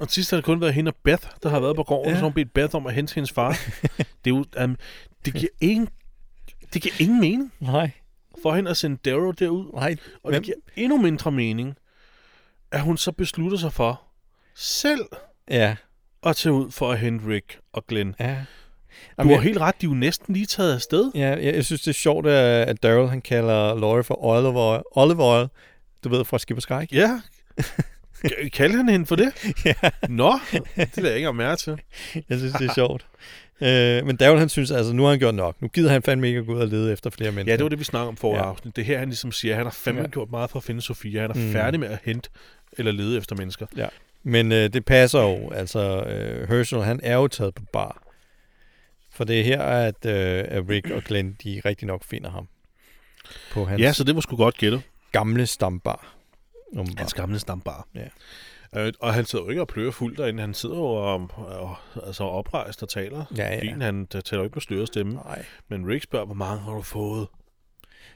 [SPEAKER 1] Og sidst har det kun været hende og Beth, der har været på gården, ja.
[SPEAKER 2] Ja.
[SPEAKER 1] og så har hun bedt Beth om at hente hendes far.
[SPEAKER 2] (laughs)
[SPEAKER 1] det, er jo, um, det, giver ingen, det giver ingen mening
[SPEAKER 2] Nej,
[SPEAKER 1] for hende at sende Daryl derud.
[SPEAKER 2] nej.
[SPEAKER 1] Og
[SPEAKER 2] Hvem?
[SPEAKER 1] det giver endnu mindre mening, at hun så beslutter sig for selv
[SPEAKER 2] Ja,
[SPEAKER 1] at tage ud for at hente Rick og Glenn.
[SPEAKER 2] ja.
[SPEAKER 1] Du har
[SPEAKER 2] jeg,
[SPEAKER 1] helt ret, de er jo næsten lige taget afsted.
[SPEAKER 2] ja, jeg, jeg synes, det er sjovt, at at Daryl han kalder Laurie for olive oil, olive oil. Du ved, fra Skip og Skræk. (laughs)
[SPEAKER 1] Ja. K- Kaldte han hende for det?
[SPEAKER 2] Ja.
[SPEAKER 1] Nå, det lader jeg ikke mærke til.
[SPEAKER 2] Jeg synes,
[SPEAKER 1] (laughs)
[SPEAKER 2] det er sjovt. Øh, men Daryl han synes, altså nu har han gjort nok. Nu gider han fandme ikke at gå ud og lede efter flere mennesker.
[SPEAKER 1] Ja, det var det, vi snakkede om forrige ja.
[SPEAKER 2] Ja.
[SPEAKER 1] afsnit. Det er her, han ligesom siger, han har fandme ja.
[SPEAKER 2] Ja.
[SPEAKER 1] gjort meget for at finde Sofia. Han er mm.
[SPEAKER 2] Mm.
[SPEAKER 1] færdig med at hente eller lede efter mennesker.
[SPEAKER 2] Men øh, det passer jo. Altså, øh, Herschel, han er jo taget på bar. For det er her, at, øh, at Rick og Glenn, de rigtig nok finder ham. På hans
[SPEAKER 1] Ja,
[SPEAKER 2] ja,
[SPEAKER 1] så det var sgu godt gættet.
[SPEAKER 2] gamle stambar. Åbenbart.
[SPEAKER 1] Hans gamle stambar.
[SPEAKER 2] Ja.
[SPEAKER 1] Øh, og han sidder jo ikke og pløjer fuldt derinde. Han sidder jo og, og, altså oprejst og taler.
[SPEAKER 2] Ja,
[SPEAKER 1] Fint,
[SPEAKER 2] ja.
[SPEAKER 1] han der taler jo ikke med styret stemme.
[SPEAKER 2] Nej,
[SPEAKER 1] Men Rick spørger, hvor mange har du fået?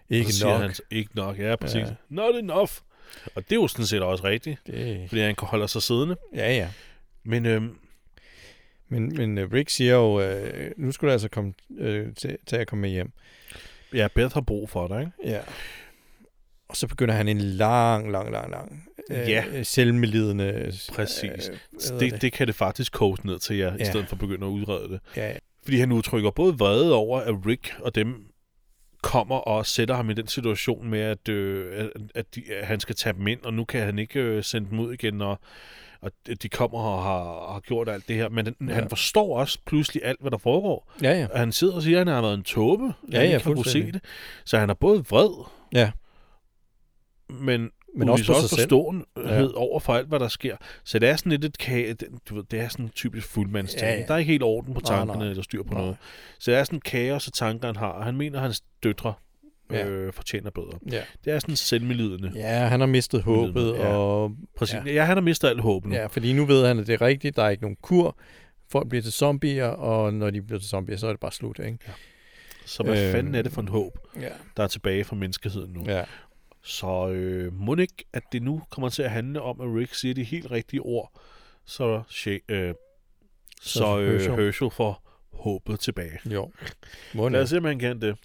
[SPEAKER 2] ikke
[SPEAKER 1] og så siger
[SPEAKER 2] nok.
[SPEAKER 1] Han, ikke nok, ja, præcis. Ja.
[SPEAKER 2] Ja.
[SPEAKER 1] Not enough. Og det er jo sådan set også rigtigt,
[SPEAKER 2] Det,
[SPEAKER 1] fordi han holder sig siddende.
[SPEAKER 2] ja, ja.
[SPEAKER 1] Men øhm,
[SPEAKER 2] Men, men øh, Rick siger jo, øh, nu skulle du altså komme, øh, til, til at komme med hjem.
[SPEAKER 1] ja, Beth har brug for dig, ikke?
[SPEAKER 2] Ja. Og så begynder han en lang, lang, lang, lang øh,
[SPEAKER 1] Ja.
[SPEAKER 2] selvmedlidende...
[SPEAKER 1] Præcis.
[SPEAKER 2] Øh, hvad hedder
[SPEAKER 1] Det, det kan det faktisk koge ned til jer, ja. i
[SPEAKER 2] Ja.
[SPEAKER 1] stedet for at begynde at udrede det.
[SPEAKER 2] Ja,
[SPEAKER 1] Fordi han udtrykker både vrede over, at Rick og dem kommer og sætter ham i den situation med, at, øh, at, at, de, at han skal tage dem ind, og nu kan han ikke øh, sende dem ud igen, og, og de kommer og har, har gjort alt det her. Men han, ja.
[SPEAKER 2] Ja.
[SPEAKER 1] han forstår også pludselig alt, hvad der foregår.
[SPEAKER 2] ja, ja.
[SPEAKER 1] Og han sidder og siger, at han har været en tåbe,
[SPEAKER 2] Ja,
[SPEAKER 1] han
[SPEAKER 2] ja,
[SPEAKER 1] ikke har kunne se
[SPEAKER 2] fuldstændig.
[SPEAKER 1] det. Så han er både vred,
[SPEAKER 2] Ja.
[SPEAKER 1] men
[SPEAKER 2] Men også på sig
[SPEAKER 1] også
[SPEAKER 2] selv.
[SPEAKER 1] forståenhed ja. over for alt, hvad der sker. Så det er sådan lidt et kage, du ved, det er sådan en typisk fuldmandsting. Ja,
[SPEAKER 2] Ja,
[SPEAKER 1] ja.
[SPEAKER 2] ja.
[SPEAKER 1] Der er ikke helt orden på
[SPEAKER 2] Nej,
[SPEAKER 1] tankerne, nej,
[SPEAKER 2] nej.
[SPEAKER 1] nej. eller styr på nej.
[SPEAKER 2] Nej.
[SPEAKER 1] noget. Så det er sådan kaos og tanker, han har. Og han mener, at hans døtre
[SPEAKER 2] Ja.
[SPEAKER 1] øh, fortjener bedre.
[SPEAKER 2] Ja.
[SPEAKER 1] Det er sådan selvmedlidende. Ja.
[SPEAKER 2] Ja, han har mistet håbet,
[SPEAKER 1] Ja. Mm.
[SPEAKER 2] ja. og
[SPEAKER 1] Præcis. Ja.
[SPEAKER 2] Ja.
[SPEAKER 1] ja, han har mistet alt håb nu. Ja.
[SPEAKER 2] ja, fordi nu ved han, at det er rigtigt, der er ikke nogen kur, folk bliver til zombier, og når de bliver til zombier, så er det bare slut, ikke?
[SPEAKER 1] Så hvad øh...
[SPEAKER 2] Øh.
[SPEAKER 1] fanden er det for en håb,
[SPEAKER 2] Ja.
[SPEAKER 1] der er tilbage for menneskeheden nu? Ja.
[SPEAKER 2] ja.
[SPEAKER 1] Så øh, må det ikke, at det nu kommer til at handle om, at Rick siger de helt rigtige ord, så, sha- øh, så, så øh,
[SPEAKER 2] Herschel.
[SPEAKER 1] Herschel får håbet tilbage.
[SPEAKER 2] Jo.
[SPEAKER 1] Lad os
[SPEAKER 2] Måne.
[SPEAKER 1] se, om han kan det.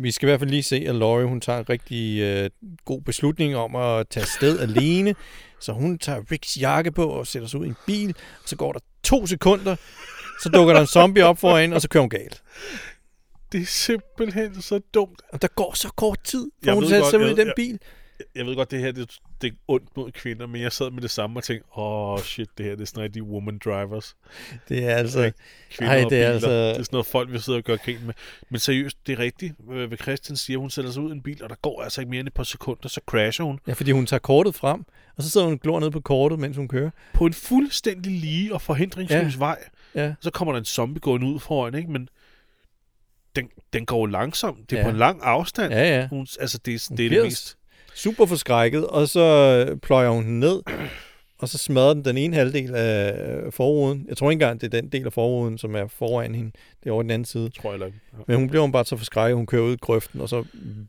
[SPEAKER 2] Vi skal i hvert fald lige se, at Laurie, hun tager en rigtig øh, god beslutning om at tage
[SPEAKER 1] (laughs)
[SPEAKER 2] sted alene, så hun tager Ricks jakke på og sætter sig ud i en bil, og så går der to sekunder, så dukker der en zombie op foran, og så kører hun galt.
[SPEAKER 1] Det er simpelthen så dumt.
[SPEAKER 2] Og der går så kort tid, for
[SPEAKER 1] Jeg
[SPEAKER 2] hun
[SPEAKER 1] ved
[SPEAKER 2] sætter
[SPEAKER 1] godt,
[SPEAKER 2] sig
[SPEAKER 1] jeg
[SPEAKER 2] ud i
[SPEAKER 1] ved-
[SPEAKER 2] den
[SPEAKER 1] jeg-
[SPEAKER 2] bil.
[SPEAKER 1] Jeg ved godt, det her det, det er ondt mod kvinder, men jeg sad med det samme og tænkte, åh oh, shit, det her det er sådan rigtig woman drivers.
[SPEAKER 2] Det er altså...
[SPEAKER 1] Kvinder
[SPEAKER 2] Ej,
[SPEAKER 1] og
[SPEAKER 2] det er
[SPEAKER 1] biler.
[SPEAKER 2] altså-
[SPEAKER 1] Det er sådan noget folk, vi sidder og gør grin med. Men seriøst, det er rigtigt. Øh, Hvad Christian siger, hun sætter sig ud i en bil, og der går altså ikke mere end et par sekunder, så crasher hun.
[SPEAKER 2] Ja, fordi hun tager kortet frem, og så sidder hun og glor ned på kortet, mens hun kører.
[SPEAKER 1] På en fuldstændig lige og forhindringsløs ja. vej.
[SPEAKER 2] Ja.
[SPEAKER 1] Så kommer der en zombie gående ud foran, ikke? Men den, den går jo langsomt. Det er
[SPEAKER 2] Ja.
[SPEAKER 1] på en lang afstand.
[SPEAKER 2] Ja, ja.
[SPEAKER 1] Hun, altså, det, er-
[SPEAKER 2] Hun
[SPEAKER 1] det er det
[SPEAKER 2] bliver
[SPEAKER 1] mest...
[SPEAKER 2] Super forskrækket, og så øh, pløjer hun den ned, og så smadrer den den ene halvdel af øh, forruden. Jeg tror ikke engang, det er den del af forruden, som er foran hende. Det er over den anden side.
[SPEAKER 1] Tror jeg nok. Ja.
[SPEAKER 2] Men hun bliver bare så forskrækket, hun kører ud i grøften, og så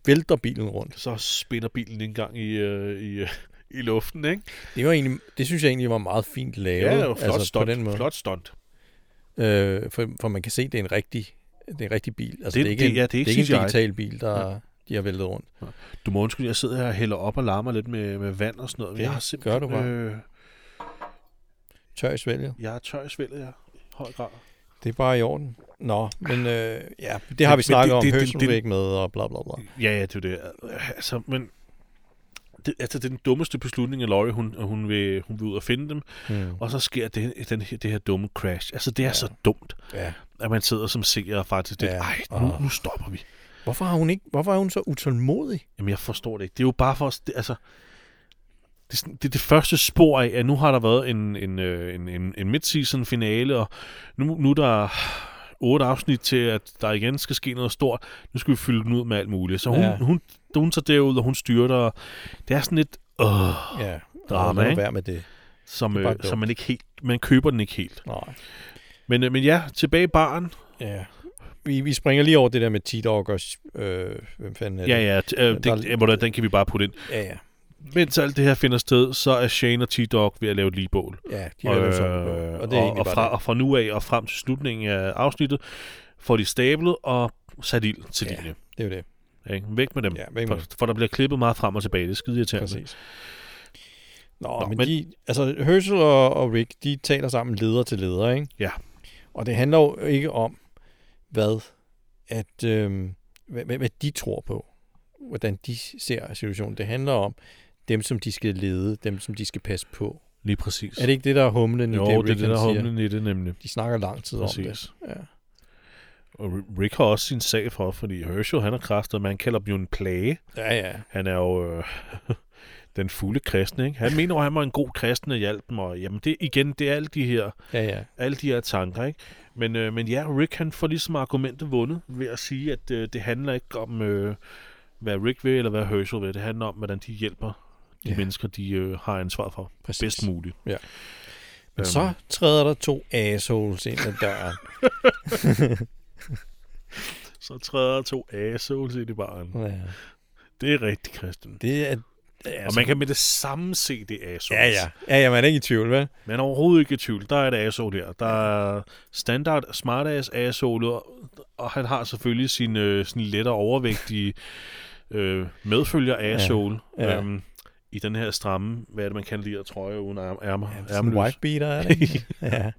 [SPEAKER 2] vælter bilen rundt.
[SPEAKER 1] Så spinner bilen en gang i, øh, i, øh, i luften, ikke?
[SPEAKER 2] Det, var egentlig, det synes jeg egentlig var meget fint lavet.
[SPEAKER 1] Ja, det var flot altså,
[SPEAKER 2] altså, på
[SPEAKER 1] stunt.
[SPEAKER 2] den måde.
[SPEAKER 1] Flot stunt.
[SPEAKER 2] Øh, for, for, man kan se, det er en rigtig, det er en rigtig bil. Altså,
[SPEAKER 1] Det-
[SPEAKER 2] det, det, er ikke
[SPEAKER 1] det-
[SPEAKER 2] en,
[SPEAKER 1] ja, det er ikke
[SPEAKER 2] ikke en
[SPEAKER 1] CGI.
[SPEAKER 2] digital bil, der de har væltet rundt.
[SPEAKER 1] Du må undskylde, jeg sidder her og hælder op og larmer lidt med, med vand og sådan noget. men
[SPEAKER 2] Det
[SPEAKER 1] jeg har simpelthen,
[SPEAKER 2] gør du bare.
[SPEAKER 1] Øh,
[SPEAKER 2] Tør i svælget.
[SPEAKER 1] jeg er tør i svældet, jeg. I Høj grad.
[SPEAKER 2] Det er bare i orden. Nå, men øh, ja, det har vi
[SPEAKER 1] men
[SPEAKER 2] snakket
[SPEAKER 1] det-
[SPEAKER 2] om.
[SPEAKER 1] det- det-
[SPEAKER 2] Hørsel
[SPEAKER 1] det-
[SPEAKER 2] vil ikke med, og bla bla bla.
[SPEAKER 1] Ja, ja, det er jo det. Altså, men... Det, altså, det er den dummeste beslutning af Laurie, hun, hun, vil, hun vil ud og finde dem,
[SPEAKER 2] Mm.
[SPEAKER 1] og så sker det, den, her- det her dumme crash. Altså, det er ja.
[SPEAKER 2] Ja.
[SPEAKER 1] så dumt,
[SPEAKER 2] Ja.
[SPEAKER 1] at man sidder som seer og faktisk, det,
[SPEAKER 2] Ja.
[SPEAKER 1] ej, nu,
[SPEAKER 2] Åh.
[SPEAKER 1] nu stopper vi.
[SPEAKER 2] Hvorfor, har hun ikke, hvorfor er hun så utålmodig?
[SPEAKER 1] Jamen, jeg forstår det ikke. Det er jo bare for os, det, altså... Det er, sådan, det er det første spor af, at nu har der været en, en, øh, en, en, en midseason finale, og nu, nu er der otte afsnit til, at der igen skal ske noget stort. Nu skal vi fylde den ud med alt muligt. Så hun, ja.
[SPEAKER 2] Ja.
[SPEAKER 1] hun, hun, hun tager derud, og hun styrter. og Det er sådan lidt, øh,
[SPEAKER 2] Ja,
[SPEAKER 1] Drama, ikke?
[SPEAKER 2] Vær med det.
[SPEAKER 1] som,
[SPEAKER 2] Det er bare
[SPEAKER 1] øh,
[SPEAKER 2] dumt.
[SPEAKER 1] som man ikke helt, man køber den ikke helt.
[SPEAKER 2] Nej.
[SPEAKER 1] Men, øh, men ja, tilbage i baren.
[SPEAKER 2] Ja. Vi, vi springer lige over det der med T-Dog og... Øh, hvem fanden er det?
[SPEAKER 1] Ja, ja, t- øh,
[SPEAKER 2] Men
[SPEAKER 1] det,
[SPEAKER 2] der-
[SPEAKER 1] øh, hvordan, den kan vi bare putte ind.
[SPEAKER 2] ja. ja.
[SPEAKER 1] Mens alt det her finder sted, så er Shane og T-Dog ved at lave et ligebål.
[SPEAKER 2] ja de
[SPEAKER 1] og,
[SPEAKER 2] og,
[SPEAKER 1] øh,
[SPEAKER 2] og det er
[SPEAKER 1] og,
[SPEAKER 2] egentlig
[SPEAKER 1] og,
[SPEAKER 2] bare
[SPEAKER 1] fra,
[SPEAKER 2] det.
[SPEAKER 1] og fra nu af og frem til slutningen af afsnittet, får de stablet og sat ild til
[SPEAKER 2] Ja.
[SPEAKER 1] linje.
[SPEAKER 2] Det er jo det.
[SPEAKER 1] Ikke? Væk med dem.
[SPEAKER 2] Ja, væk med
[SPEAKER 1] for, for der bliver klippet meget frem og tilbage. Det er skide irriterende.
[SPEAKER 2] Præcis. Nå,
[SPEAKER 1] Nå,
[SPEAKER 2] Nå men,
[SPEAKER 1] men-
[SPEAKER 2] men de, altså Herschel og, og Rick, de taler sammen leder til leder, ikke?
[SPEAKER 1] Ja.
[SPEAKER 2] Og det handler jo ikke om, hvad, at, øh, hvad, hvad, hvad de tror på, hvordan de ser situationen. Det handler om dem, som de skal lede, dem, som de skal passe på.
[SPEAKER 1] Lige præcis.
[SPEAKER 2] Er det ikke det, der er humlen i
[SPEAKER 1] jo,
[SPEAKER 2] det,
[SPEAKER 1] det,
[SPEAKER 2] Rick,
[SPEAKER 1] det er det,
[SPEAKER 2] han
[SPEAKER 1] der er
[SPEAKER 2] siger?
[SPEAKER 1] humlen i det nemlig.
[SPEAKER 2] De snakker lang tid om det.
[SPEAKER 1] Præcis.
[SPEAKER 2] Ja.
[SPEAKER 1] Og Ri- Rick har også sin sag for, fordi Herschel, han har kræftet, men han kalder dem jo en plage.
[SPEAKER 2] ja, ja.
[SPEAKER 1] Han er jo øh, (laughs) den fulde kristne, ikke? Han mener jo, han var en god kristen og hjalp dem, og jamen det, igen, det er alle de her
[SPEAKER 2] Ja, ja.
[SPEAKER 1] alle de her tanker, ikke? Men, øh, men ja, Rick han får ligesom argumentet vundet ved at sige, at øh, det handler ikke om, øh, hvad Rick vil eller hvad Herschel vil. Det handler om, hvordan de hjælper de
[SPEAKER 2] Ja.
[SPEAKER 1] mennesker, de øh, har ansvar for
[SPEAKER 2] Præcis.
[SPEAKER 1] bedst muligt.
[SPEAKER 2] Ja.
[SPEAKER 1] Øhm,
[SPEAKER 2] Men så træder der to assholes ind ad døren.
[SPEAKER 1] så træder to assholes ind i baren.
[SPEAKER 2] Ja.
[SPEAKER 1] Det er rigtigt, Christian.
[SPEAKER 2] Det er...
[SPEAKER 1] Og man kan med det samme se det er assholes.
[SPEAKER 2] Ja, ja. Ja, ja, man er ikke i tvivl, vel?
[SPEAKER 1] Man er overhovedet ikke i tvivl. Der er et asshole her. Der er standard smartass asshole, og- og han har selvfølgelig sin, øh, sin lettere overvægtige
[SPEAKER 2] (laughs)
[SPEAKER 1] øh, medfølger asshole. Ja.
[SPEAKER 2] Ja.
[SPEAKER 1] Ja. Øhm, I den her stramme, hvad er det, man kan lide at trøje uden arm, ærmer,
[SPEAKER 2] Ja,
[SPEAKER 1] ja,
[SPEAKER 2] sådan en
[SPEAKER 1] ærmeløs.
[SPEAKER 2] white beater, er det
[SPEAKER 1] (laughs)
[SPEAKER 2] ikke? ja.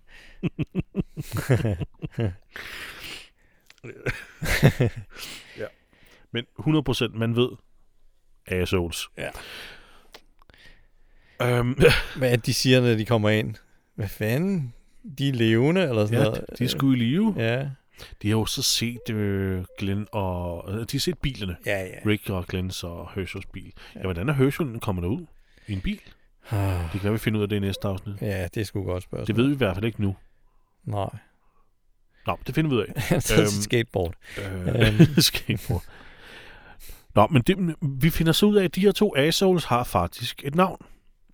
[SPEAKER 1] Men 100% man ved assholes.
[SPEAKER 2] Ja.
[SPEAKER 1] Øhm,
[SPEAKER 2] Hvad er det, de siger, når de kommer ind? Hvad fanden? De er levende, eller sådan
[SPEAKER 1] (laughs) ja,
[SPEAKER 2] noget?
[SPEAKER 1] de er sgu i live. Ja.
[SPEAKER 2] Ja.
[SPEAKER 1] De har jo så set øh, Glenn og... øh, De har set bilerne.
[SPEAKER 2] Ja, ja.
[SPEAKER 1] Rick og Glens og Herschels bil. Ja,
[SPEAKER 2] Ja.
[SPEAKER 1] hvordan er Herschel kommet derud? I en bil?
[SPEAKER 2] Ah,
[SPEAKER 1] Det kan være, vi finder ud af det i næste afsnit.
[SPEAKER 2] (sighs) Ja, det er sgu et godt spørgsmål.
[SPEAKER 1] Det ved vi i hvert fald ikke nu.
[SPEAKER 2] Nej.
[SPEAKER 1] Nå, det finder vi ud af.
[SPEAKER 2] (laughs) Han tager sit
[SPEAKER 1] Øhm,
[SPEAKER 2] skateboard.
[SPEAKER 1] (laughs) Øh, skateboard. Nå, men det, vi finder så ud af, at de her to assholes har faktisk et navn.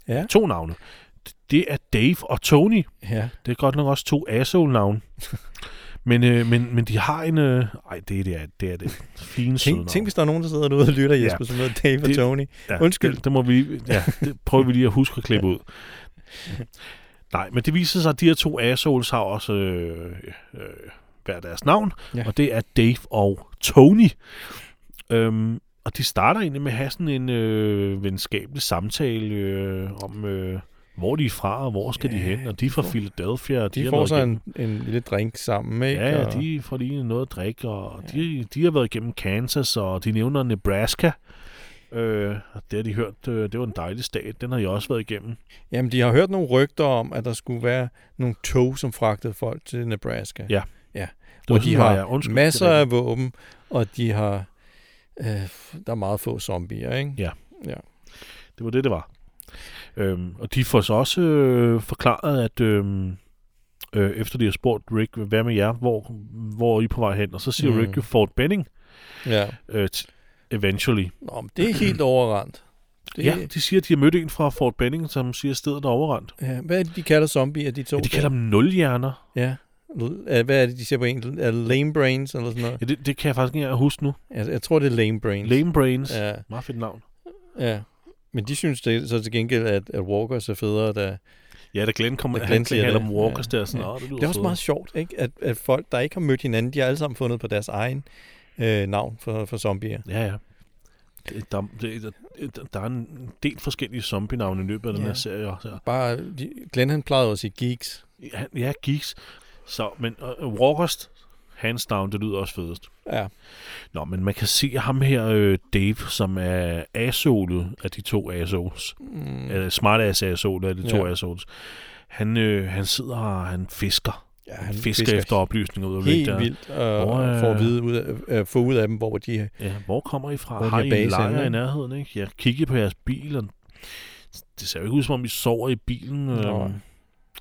[SPEAKER 2] Ja.
[SPEAKER 1] To navne. Det er Dave og Tony.
[SPEAKER 2] Ja.
[SPEAKER 1] Det er godt nok også to
[SPEAKER 2] (laughs)
[SPEAKER 1] asshole-navne. Men, øh, men, men de har en... Øh, ej, det, det er det, er det fine søde navn.
[SPEAKER 2] Tænk, tænk, hvis der er nogen, der sidder derude og lytter, Jesper, som hedder Dave og
[SPEAKER 1] Det-
[SPEAKER 2] Tony.
[SPEAKER 1] Ja,
[SPEAKER 2] Undskyld.
[SPEAKER 1] Det, det må vi, ja, det prøver vi lige at huske at klippe ud. Nej, men det viser sig, at de her to assholes har også øh, øh, hver deres navn, ja.
[SPEAKER 2] Ja.
[SPEAKER 1] og det er Dave og Tony. Øhm, og de starter egentlig med at have sådan en øh, venskabelig samtale øh, om, øh, hvor de er fra, og hvor skal ja,
[SPEAKER 2] Ja,
[SPEAKER 1] de hen, og de er fra Philadelphia. Og
[SPEAKER 2] De
[SPEAKER 1] har
[SPEAKER 2] får
[SPEAKER 1] været
[SPEAKER 2] så
[SPEAKER 1] igennem-
[SPEAKER 2] en, en lille drink sammen, ikke?
[SPEAKER 1] Ja, ja,
[SPEAKER 2] Og-
[SPEAKER 1] de får lige noget at drikke, og ja. de, de har været igennem Kansas, og de nævner Nebraska. Øh, og det har de hørt, øh, det var en dejlig stat, den har jeg også været igennem.
[SPEAKER 2] Jamen, de har hørt nogle rygter om, at der skulle være nogle tog, som fragtede folk til Nebraska.
[SPEAKER 1] Ja.
[SPEAKER 2] ja.
[SPEAKER 1] Det
[SPEAKER 2] Hvor
[SPEAKER 1] var
[SPEAKER 2] de
[SPEAKER 1] sådan,
[SPEAKER 2] har
[SPEAKER 1] jeg- undskyld,
[SPEAKER 2] masser
[SPEAKER 1] det er
[SPEAKER 2] af våben, og de har... Øh, der er meget få zombier, ikke?
[SPEAKER 1] Ja. rigtigt. Det var det, det var. Øhm, og de får så også øh, forklaret, at, øh, øh, efter de har spurgt Rick, hvad med jer, hvor, hvor er I på vej hen? Og så siger
[SPEAKER 2] Mm.
[SPEAKER 1] mm. Rick jo Fort Benning,
[SPEAKER 2] Ja.
[SPEAKER 1] øh, t- eventually.
[SPEAKER 2] Nå, men det er helt overrendt. Det,
[SPEAKER 1] Det... Ja, de siger, at de har mødt en fra Fort Benning, som siger, at stedet er overrendt.
[SPEAKER 2] ja. Hvad er det, de kalder zombier, de to?
[SPEAKER 1] Ja, de kalder dem nulhjerner.
[SPEAKER 2] Ja. L- er- Hvad er det, de siger på engelsk? Er det lame brains eller sådan noget?
[SPEAKER 1] Ja, det, det kan jeg faktisk ikke engang huske nu.
[SPEAKER 2] Jeg, jeg tror, det er lame brains.
[SPEAKER 1] Lame Brains. Ja.
[SPEAKER 2] Ja,
[SPEAKER 1] Meget fedt navn.
[SPEAKER 2] ja. Men de synes det, så til gengæld, at, at Walkers er federe, der,
[SPEAKER 1] Ja, da Glenn kommer,
[SPEAKER 2] Da
[SPEAKER 1] han,
[SPEAKER 2] Glenn
[SPEAKER 1] han
[SPEAKER 2] siger
[SPEAKER 1] kalder
[SPEAKER 2] det.
[SPEAKER 1] dem Walkers
[SPEAKER 2] Ja,
[SPEAKER 1] der, sådan,
[SPEAKER 2] ja.
[SPEAKER 1] ja. det lyder
[SPEAKER 2] Det er også
[SPEAKER 1] fedt."
[SPEAKER 2] meget sjovt, ikke? At, at folk, der ikke har mødt hinanden, de har alle sammen fundet på deres egen øh, navn for, for zombier.
[SPEAKER 1] Ja, ja. Det- Der, det- der, der er en del forskellige zombie-navne i løbet af ja.
[SPEAKER 2] Ja.
[SPEAKER 1] den her serie også. her.
[SPEAKER 2] Bare, de, Glenn han plejede også at sige geeks.
[SPEAKER 1] Ja, ja geeks. Så, men uh, Walkers, hands down, det lyder også fedest.
[SPEAKER 2] Ja,
[SPEAKER 1] Nå, men man kan se ham her, øh, Dave, som er assolet af de to assoles.
[SPEAKER 2] mm,
[SPEAKER 1] Mm. Eller smart ass assolet af de to
[SPEAKER 2] Ja.
[SPEAKER 1] ja. assoles. Han, øh, han sidder og han fisker.
[SPEAKER 2] ja
[SPEAKER 1] Han fisker, fisker efter oplysninger ud af Rick
[SPEAKER 2] Helt
[SPEAKER 1] der.
[SPEAKER 2] vildt, og,
[SPEAKER 1] Hvor,
[SPEAKER 2] og
[SPEAKER 1] øh,
[SPEAKER 2] får at vide ud af, øh, få ud af dem, hvor de
[SPEAKER 1] Ja, hvor kommer I fra?
[SPEAKER 2] Hvor er
[SPEAKER 1] Har
[SPEAKER 2] de
[SPEAKER 1] I
[SPEAKER 2] base
[SPEAKER 1] en lejr
[SPEAKER 2] henne,
[SPEAKER 1] i
[SPEAKER 2] ikke?
[SPEAKER 1] nærheden? Ikke? Jeg kigger på jeres bil, og det ser jo ikke ud, som om I sover i bilen.
[SPEAKER 2] Nå.
[SPEAKER 1] Øhm,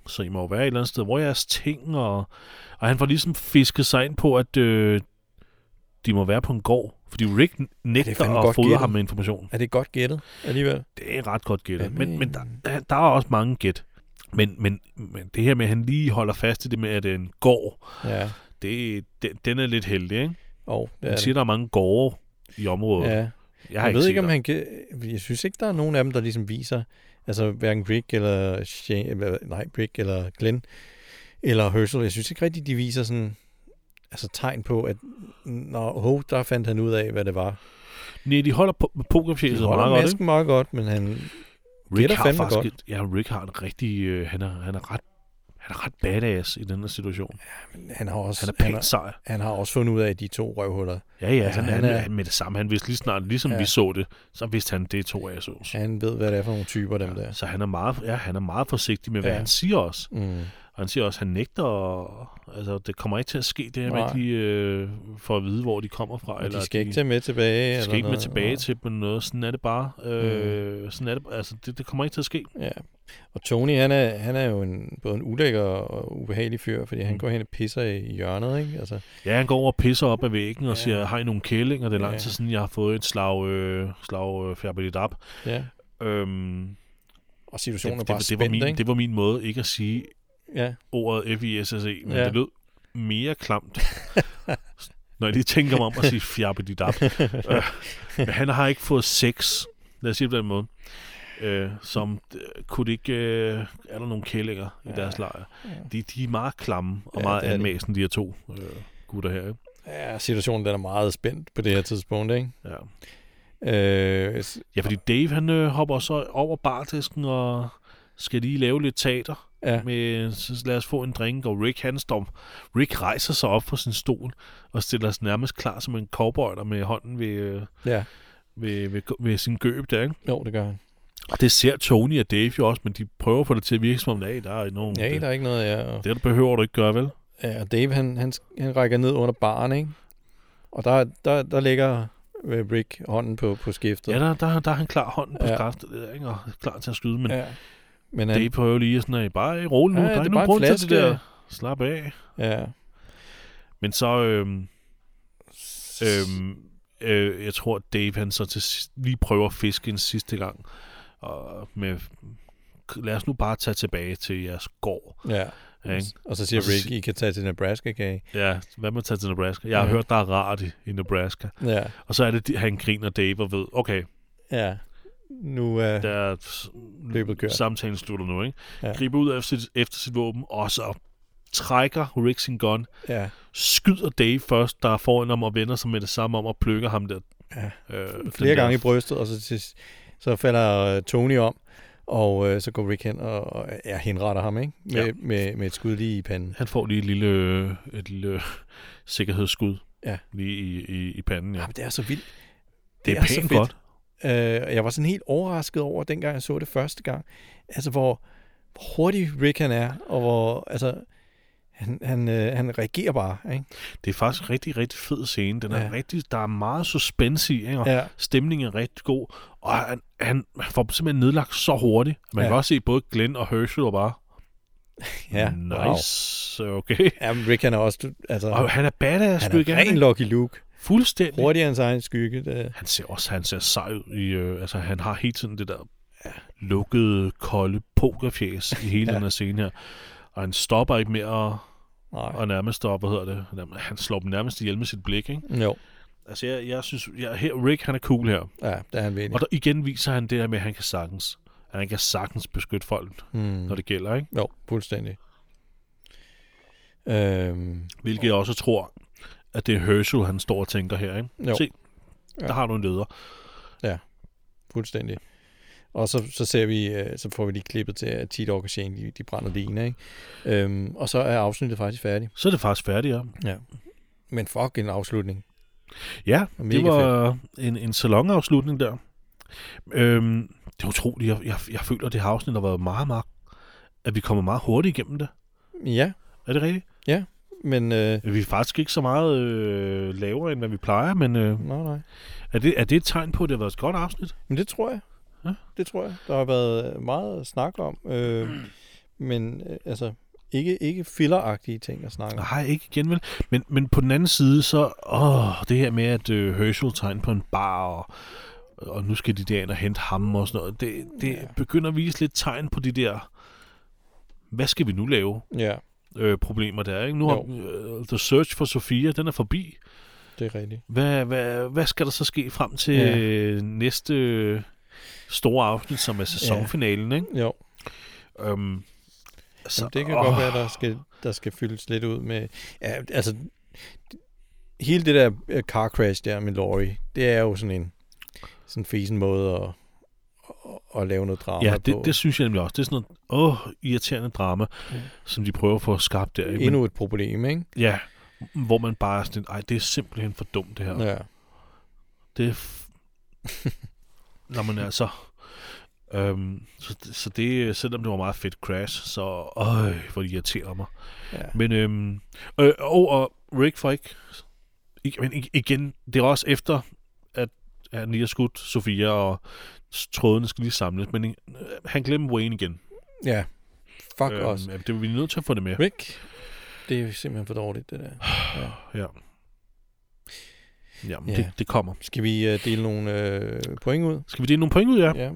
[SPEAKER 1] så I må jo være et eller andet sted. Hvor er jeres ting? Og, og han får ligesom fisket sig ind på, at øh, de må være på en gård. Fordi Rick nægter
[SPEAKER 2] fandme
[SPEAKER 1] at
[SPEAKER 2] godt
[SPEAKER 1] fodre
[SPEAKER 2] gættet.
[SPEAKER 1] ham med information.
[SPEAKER 2] Er det godt gættet alligevel?
[SPEAKER 1] Det er ret godt gættet.
[SPEAKER 2] Jamen,
[SPEAKER 1] Men, men der, der er også mange gæt. Men, men, men det her med, at han lige holder fast i det med, at det er en gård,
[SPEAKER 2] Ja,
[SPEAKER 1] det, den, den er lidt heldig, ikke?
[SPEAKER 2] og det er
[SPEAKER 1] Han siger, der er mange gårde i området.
[SPEAKER 2] det.
[SPEAKER 1] Ja,
[SPEAKER 2] Ja.
[SPEAKER 1] jeg
[SPEAKER 2] Jeg,
[SPEAKER 1] har
[SPEAKER 2] jeg ved
[SPEAKER 1] set
[SPEAKER 2] ikke, om
[SPEAKER 1] dig.
[SPEAKER 2] han kan... Jeg synes ikke, der er nogen af dem, der ligesom viser... Altså, hverken Rick eller... Shane, eller- nej, Rick eller Glenn eller Herschel. Jeg synes ikke rigtigt, de viser sådan... Altså tegn på, at når ho, der fandt han ud af, hvad det var.
[SPEAKER 1] Nej, de holder på,
[SPEAKER 2] De
[SPEAKER 1] pokerfjæset
[SPEAKER 2] holder
[SPEAKER 1] meget godt, ikke?
[SPEAKER 2] masken meget godt, men han...
[SPEAKER 1] Rick
[SPEAKER 2] gætter
[SPEAKER 1] har
[SPEAKER 2] fandme
[SPEAKER 1] faktisk, Et, ja, Rick har en rigtig, øh, han, er, han er ret, han er ret badass i den her situation.
[SPEAKER 2] Han har også,
[SPEAKER 1] Han er
[SPEAKER 2] han
[SPEAKER 1] pænt
[SPEAKER 2] har,
[SPEAKER 1] sej.
[SPEAKER 2] han har også fundet ud af at de to røvhuller.
[SPEAKER 1] Ja, ja,
[SPEAKER 2] altså,
[SPEAKER 1] han, han,
[SPEAKER 2] han er-
[SPEAKER 1] er, han, med det samme. Han vidste lige snart, ligesom
[SPEAKER 2] Ja.
[SPEAKER 1] vi så det, så vidste han, det er to ASOs.
[SPEAKER 2] Han ved, hvad det er for nogle typer, dem der.
[SPEAKER 1] Så han er meget, ja, han er meget forsigtig med, hvad
[SPEAKER 2] Ja.
[SPEAKER 1] ja. han siger også.
[SPEAKER 2] Mm.
[SPEAKER 1] Og han siger også, at han nægter, og, altså det kommer ikke til at ske det her med,
[SPEAKER 2] Nej.
[SPEAKER 1] at de øh, får at vide, hvor de kommer fra.
[SPEAKER 2] Og
[SPEAKER 1] eller
[SPEAKER 2] de skal
[SPEAKER 1] at
[SPEAKER 2] ikke tage med tilbage.
[SPEAKER 1] de
[SPEAKER 2] eller
[SPEAKER 1] skal ikke med
[SPEAKER 2] noget. Mm.
[SPEAKER 1] tilbage til dem eller noget. Sådan er det bare. Øh, Sådan er det, altså det, det kommer ikke til at ske.
[SPEAKER 2] Ja. Og Tony, han er, han er jo en, både en ulækker og ubehagelig fyr, fordi han
[SPEAKER 1] Mm.
[SPEAKER 2] går hen og pisser i hjørnet, ikke? Altså,
[SPEAKER 1] Ja, han går over og pisser op ad væggen og
[SPEAKER 2] Ja.
[SPEAKER 1] ja. siger, har I nogle kællinger? Det er lang
[SPEAKER 2] Ja.
[SPEAKER 1] tid siden, jeg har fået et slag, øh, slag øh, færbeligt op.
[SPEAKER 2] ja.
[SPEAKER 1] Øhm,
[SPEAKER 2] Og situationen
[SPEAKER 1] det,
[SPEAKER 2] er bare
[SPEAKER 1] det, det, var
[SPEAKER 2] spændt,
[SPEAKER 1] min,
[SPEAKER 2] ikke?
[SPEAKER 1] det var min måde ikke at sige
[SPEAKER 2] Ja.
[SPEAKER 1] ordet F-I-S-S-E, E, men
[SPEAKER 2] Ja.
[SPEAKER 1] ja. det lød mere klamt. (laughs) Når jeg lige tænker mig om at sige fjerbeligt op. øh, men han har ikke fået sex, lad os sige det på den måde. Øh, som øh, kunne det ikke... Øh, er der nogle kællinger i
[SPEAKER 2] Ja.
[SPEAKER 1] deres lejr?
[SPEAKER 2] Ja.
[SPEAKER 1] De, de er meget klamme og
[SPEAKER 2] Ja,
[SPEAKER 1] meget
[SPEAKER 2] det er de.
[SPEAKER 1] anmæsende, de her to øh, gutter her. Ikke?
[SPEAKER 2] ja, situationen den er meget spændt på det her tidspunkt, ikke?
[SPEAKER 1] Ja.
[SPEAKER 2] Øh, s-
[SPEAKER 1] Ja, fordi Dave, han øh, hopper så over bardisken og skal lige lave lidt teater.
[SPEAKER 2] ja.
[SPEAKER 1] Med, så lad os få en drink, og Rick han står. Rick rejser sig op på sin stol og stiller sig nærmest klar som en cowboy der med hånden ved, øh,
[SPEAKER 2] ja.
[SPEAKER 1] ved, ved, ved sin gøb der, ikke?
[SPEAKER 2] Jo, det gør han.
[SPEAKER 1] Og det ser Tony og Dave jo også, men de prøver at få det til at virke som om, nej, der er nogen.
[SPEAKER 2] Ja,
[SPEAKER 1] det,
[SPEAKER 2] der er ikke noget, ja. Og,
[SPEAKER 1] det, der behøver du ikke gøre, vel?
[SPEAKER 2] ja, og Dave, han, han, han rækker ned under baren, ikke? Og der, der, der ligger øh, Rick hånden på, på skiftet.
[SPEAKER 1] Ja, der, der, der er han klar hånden på
[SPEAKER 2] Ja.
[SPEAKER 1] ja. skaftet, der, ikke? Og klar til at skyde, men ja,
[SPEAKER 2] ja. Men han,
[SPEAKER 1] Dave prøver lige sådan, at bare rolig nu,
[SPEAKER 2] Ja,
[SPEAKER 1] ja, der
[SPEAKER 2] det
[SPEAKER 1] er
[SPEAKER 2] er
[SPEAKER 1] ikke
[SPEAKER 2] bare
[SPEAKER 1] nogen
[SPEAKER 2] en
[SPEAKER 1] grund til det
[SPEAKER 2] flaske.
[SPEAKER 1] der. Slap af.
[SPEAKER 2] ja.
[SPEAKER 1] Men så, øhm, Øhm, øh, jeg tror, Dave han så til sidst lige prøver at fiske en sidste gang. Og med, lad os nu bare tage tilbage til jeres gård.
[SPEAKER 2] Ja.
[SPEAKER 1] Ikke?
[SPEAKER 2] Og så siger
[SPEAKER 1] Og så
[SPEAKER 2] Rick,
[SPEAKER 1] sig-
[SPEAKER 2] I kan tage til Nebraska, kan I?
[SPEAKER 1] Ja, hvad med at tage til Nebraska? Jeg har
[SPEAKER 2] Ja.
[SPEAKER 1] hørt, der er rart i, i Nebraska.
[SPEAKER 2] Ja.
[SPEAKER 1] Og så er det, de- han griner Dave og ved, okay,
[SPEAKER 2] Ja. Nu øh, er...
[SPEAKER 1] der er
[SPEAKER 2] Løbet kørt.
[SPEAKER 1] samtalen slutter nu, ikke?
[SPEAKER 2] Ja.
[SPEAKER 1] Ja. Griber ud efter sit, efter sit våben, og så trækker Rick sin gun,
[SPEAKER 2] Ja.
[SPEAKER 1] skyder Dave først, der er foran ham og vender sig med det samme om og plukker ham der.
[SPEAKER 2] Ja.
[SPEAKER 1] Øh, den
[SPEAKER 2] Flere
[SPEAKER 1] der
[SPEAKER 2] gange i brystet, og så, til, så falder øh, Tony om, og øh, så går Rick hen og, og ja, henretter ham, ikke? Med, ja.
[SPEAKER 1] Ja.
[SPEAKER 2] med, med et skud lige i panden.
[SPEAKER 1] Han får lige et lille, øh, et lille øh, sikkerhedsskud
[SPEAKER 2] Ja.
[SPEAKER 1] lige i, i, i panden. Ja.
[SPEAKER 2] Ja. Ah, men det er så vildt.
[SPEAKER 1] Det er,
[SPEAKER 2] er så
[SPEAKER 1] pænt
[SPEAKER 2] fedt.
[SPEAKER 1] godt.
[SPEAKER 2] Øh, og jeg var sådan helt overrasket over, dengang jeg så det første gang, altså hvor, hvor hurtig Rick han er, og hvor, altså, han, han, øh, han reagerer bare, ikke?
[SPEAKER 1] Det er faktisk en rigtig, rigtig fed scene. Den er
[SPEAKER 2] Ja.
[SPEAKER 1] ja. rigtig, der er meget suspense i, ikke? og ja.
[SPEAKER 2] Ja.
[SPEAKER 1] stemningen er rigtig god. Og han, han får dem simpelthen nedlagt så hurtigt. Man ja.
[SPEAKER 2] Ja.
[SPEAKER 1] kan også se både Glenn og Herschel og bare,
[SPEAKER 2] Ja, wow.
[SPEAKER 1] Nice. Okay.
[SPEAKER 2] Jamen, Rick han er også, du- altså,
[SPEAKER 1] Og han er badass,
[SPEAKER 2] han
[SPEAKER 1] vil jeg
[SPEAKER 2] er ren
[SPEAKER 1] gerne.
[SPEAKER 2] Lucky Luke.
[SPEAKER 1] Fuldstændig.
[SPEAKER 2] Hurtigere end sin egen skygge. Det,
[SPEAKER 1] Han ser også, han ser sej ud. I, øh, altså, han har hele tiden det der lukkede, kolde pokerfjæs i
[SPEAKER 2] (laughs)
[SPEAKER 1] hele
[SPEAKER 2] Ja.
[SPEAKER 1] ja. den her scene her. Og han stopper ikke med at,
[SPEAKER 2] nej.
[SPEAKER 1] at nærmest stoppe, hvad hedder det? Nærmest- Han slår dem nærmest ihjel med sit blik, ikke?
[SPEAKER 2] Jo,
[SPEAKER 1] Altså, jeg, jeg synes, jeg, her, Rick, han er cool her.
[SPEAKER 2] ja, det er han virkelig.
[SPEAKER 1] Og der igen viser han det her med, at han kan sagtens, at han kan sagtens beskytte folk, mm.
[SPEAKER 2] Mm.
[SPEAKER 1] når det gælder, ikke?
[SPEAKER 2] Jo, fuldstændig. Øhm,
[SPEAKER 1] Hvilket jeg også tror, at det er Herschel, han står og tænker her, ikke?
[SPEAKER 2] jo,
[SPEAKER 1] Se,
[SPEAKER 2] Ja.
[SPEAKER 1] der har du en leder.
[SPEAKER 2] fuldstændig. Og så, så ser vi, øh, så får vi lige klippet til, at T-Dog og Shane, de, de brænder Lina, ikke? Øhm, og så er afsnittet faktisk færdigt.
[SPEAKER 1] Så er det faktisk færdigt, ja.
[SPEAKER 2] Men fuck en afslutning.
[SPEAKER 1] Ja,
[SPEAKER 2] Og
[SPEAKER 1] det
[SPEAKER 2] mega
[SPEAKER 1] var en, en salonafslutning der. Øhm, det er utroligt. Jeg, jeg, jeg føler, at det her afsnit har været meget, meget... At vi kommer meget hurtigt igennem det.
[SPEAKER 2] Ja,
[SPEAKER 1] Er det rigtigt?
[SPEAKER 2] men... Øh,
[SPEAKER 1] Vi er faktisk ikke så meget øh, lavere, end hvad vi plejer, men øh,
[SPEAKER 2] nej, nej.
[SPEAKER 1] er, det, er det et tegn på, at det har været et godt afsnit?
[SPEAKER 2] Men det tror jeg.
[SPEAKER 1] Ja.
[SPEAKER 2] Det tror jeg. Der har været meget snak om. Øh, men øh, altså, ikke, ikke filleragtige ting at snakke om.
[SPEAKER 1] Nej, ikke igen, vel? Men, men på den anden side, så... Åh, det her med, at øh, Herschel tegner på en bar, og, og nu skal de derind og hente ham og sådan noget. Det, det
[SPEAKER 2] Ja.
[SPEAKER 1] ja. begynder at vise lidt tegn på de der... Hvad skal vi nu lave?
[SPEAKER 2] Ja,
[SPEAKER 1] øh, problemer der. er, Ikke? Nu har øh, The Search for Sofia, den er forbi.
[SPEAKER 2] det er rigtigt.
[SPEAKER 1] Hvad, hvad, hvad skal der så ske frem til
[SPEAKER 2] Ja.
[SPEAKER 1] ja. næste øh, store afsnit, som er sæsonfinalen? Ikke?
[SPEAKER 2] Jo,
[SPEAKER 1] Øhm,
[SPEAKER 2] så, det kan godt være, der skal, der skal fyldes lidt ud med... Ja, altså, hele det der øh, car crash der med Laurie, det er jo sådan en sådan en fesen måde at, at, at lave noget drama
[SPEAKER 1] Ja,
[SPEAKER 2] på.
[SPEAKER 1] det, det synes jeg nemlig også. Det er sådan noget åh, irriterende drama,
[SPEAKER 2] Ja.
[SPEAKER 1] ja. som de prøver at få skabt der. Ikke?
[SPEAKER 2] Endnu et problem, ikke?
[SPEAKER 1] ja, hvor man bare er sådan, ej, det er simpelthen for dumt det her.
[SPEAKER 2] Ja.
[SPEAKER 1] Det er... F-
[SPEAKER 2] (laughs)
[SPEAKER 1] Nå, men altså... Øhm, så, så det, selvom det var meget fedt crash, så øj, hvor det irriterer mig.
[SPEAKER 2] ja.
[SPEAKER 1] Men øhm, øh, og, og Rick får ikke... ikke men ig- igen, det er også efter, at han lige har skudt Sofia, og s- trådene skal lige samles, men øh, han glemmer Wayne igen.
[SPEAKER 2] Ja. Fuck øhm, os.
[SPEAKER 1] øhm, det, vi er nødt til at få det med.
[SPEAKER 2] Rick, det er jo simpelthen for dårligt, det der.
[SPEAKER 1] Ja. Jamen,
[SPEAKER 2] Ja.
[SPEAKER 1] yeah. det, det kommer.
[SPEAKER 2] Skal vi øh, dele nogle øh, point ud?
[SPEAKER 1] Skal vi dele nogle point ud, ja?
[SPEAKER 2] Ja.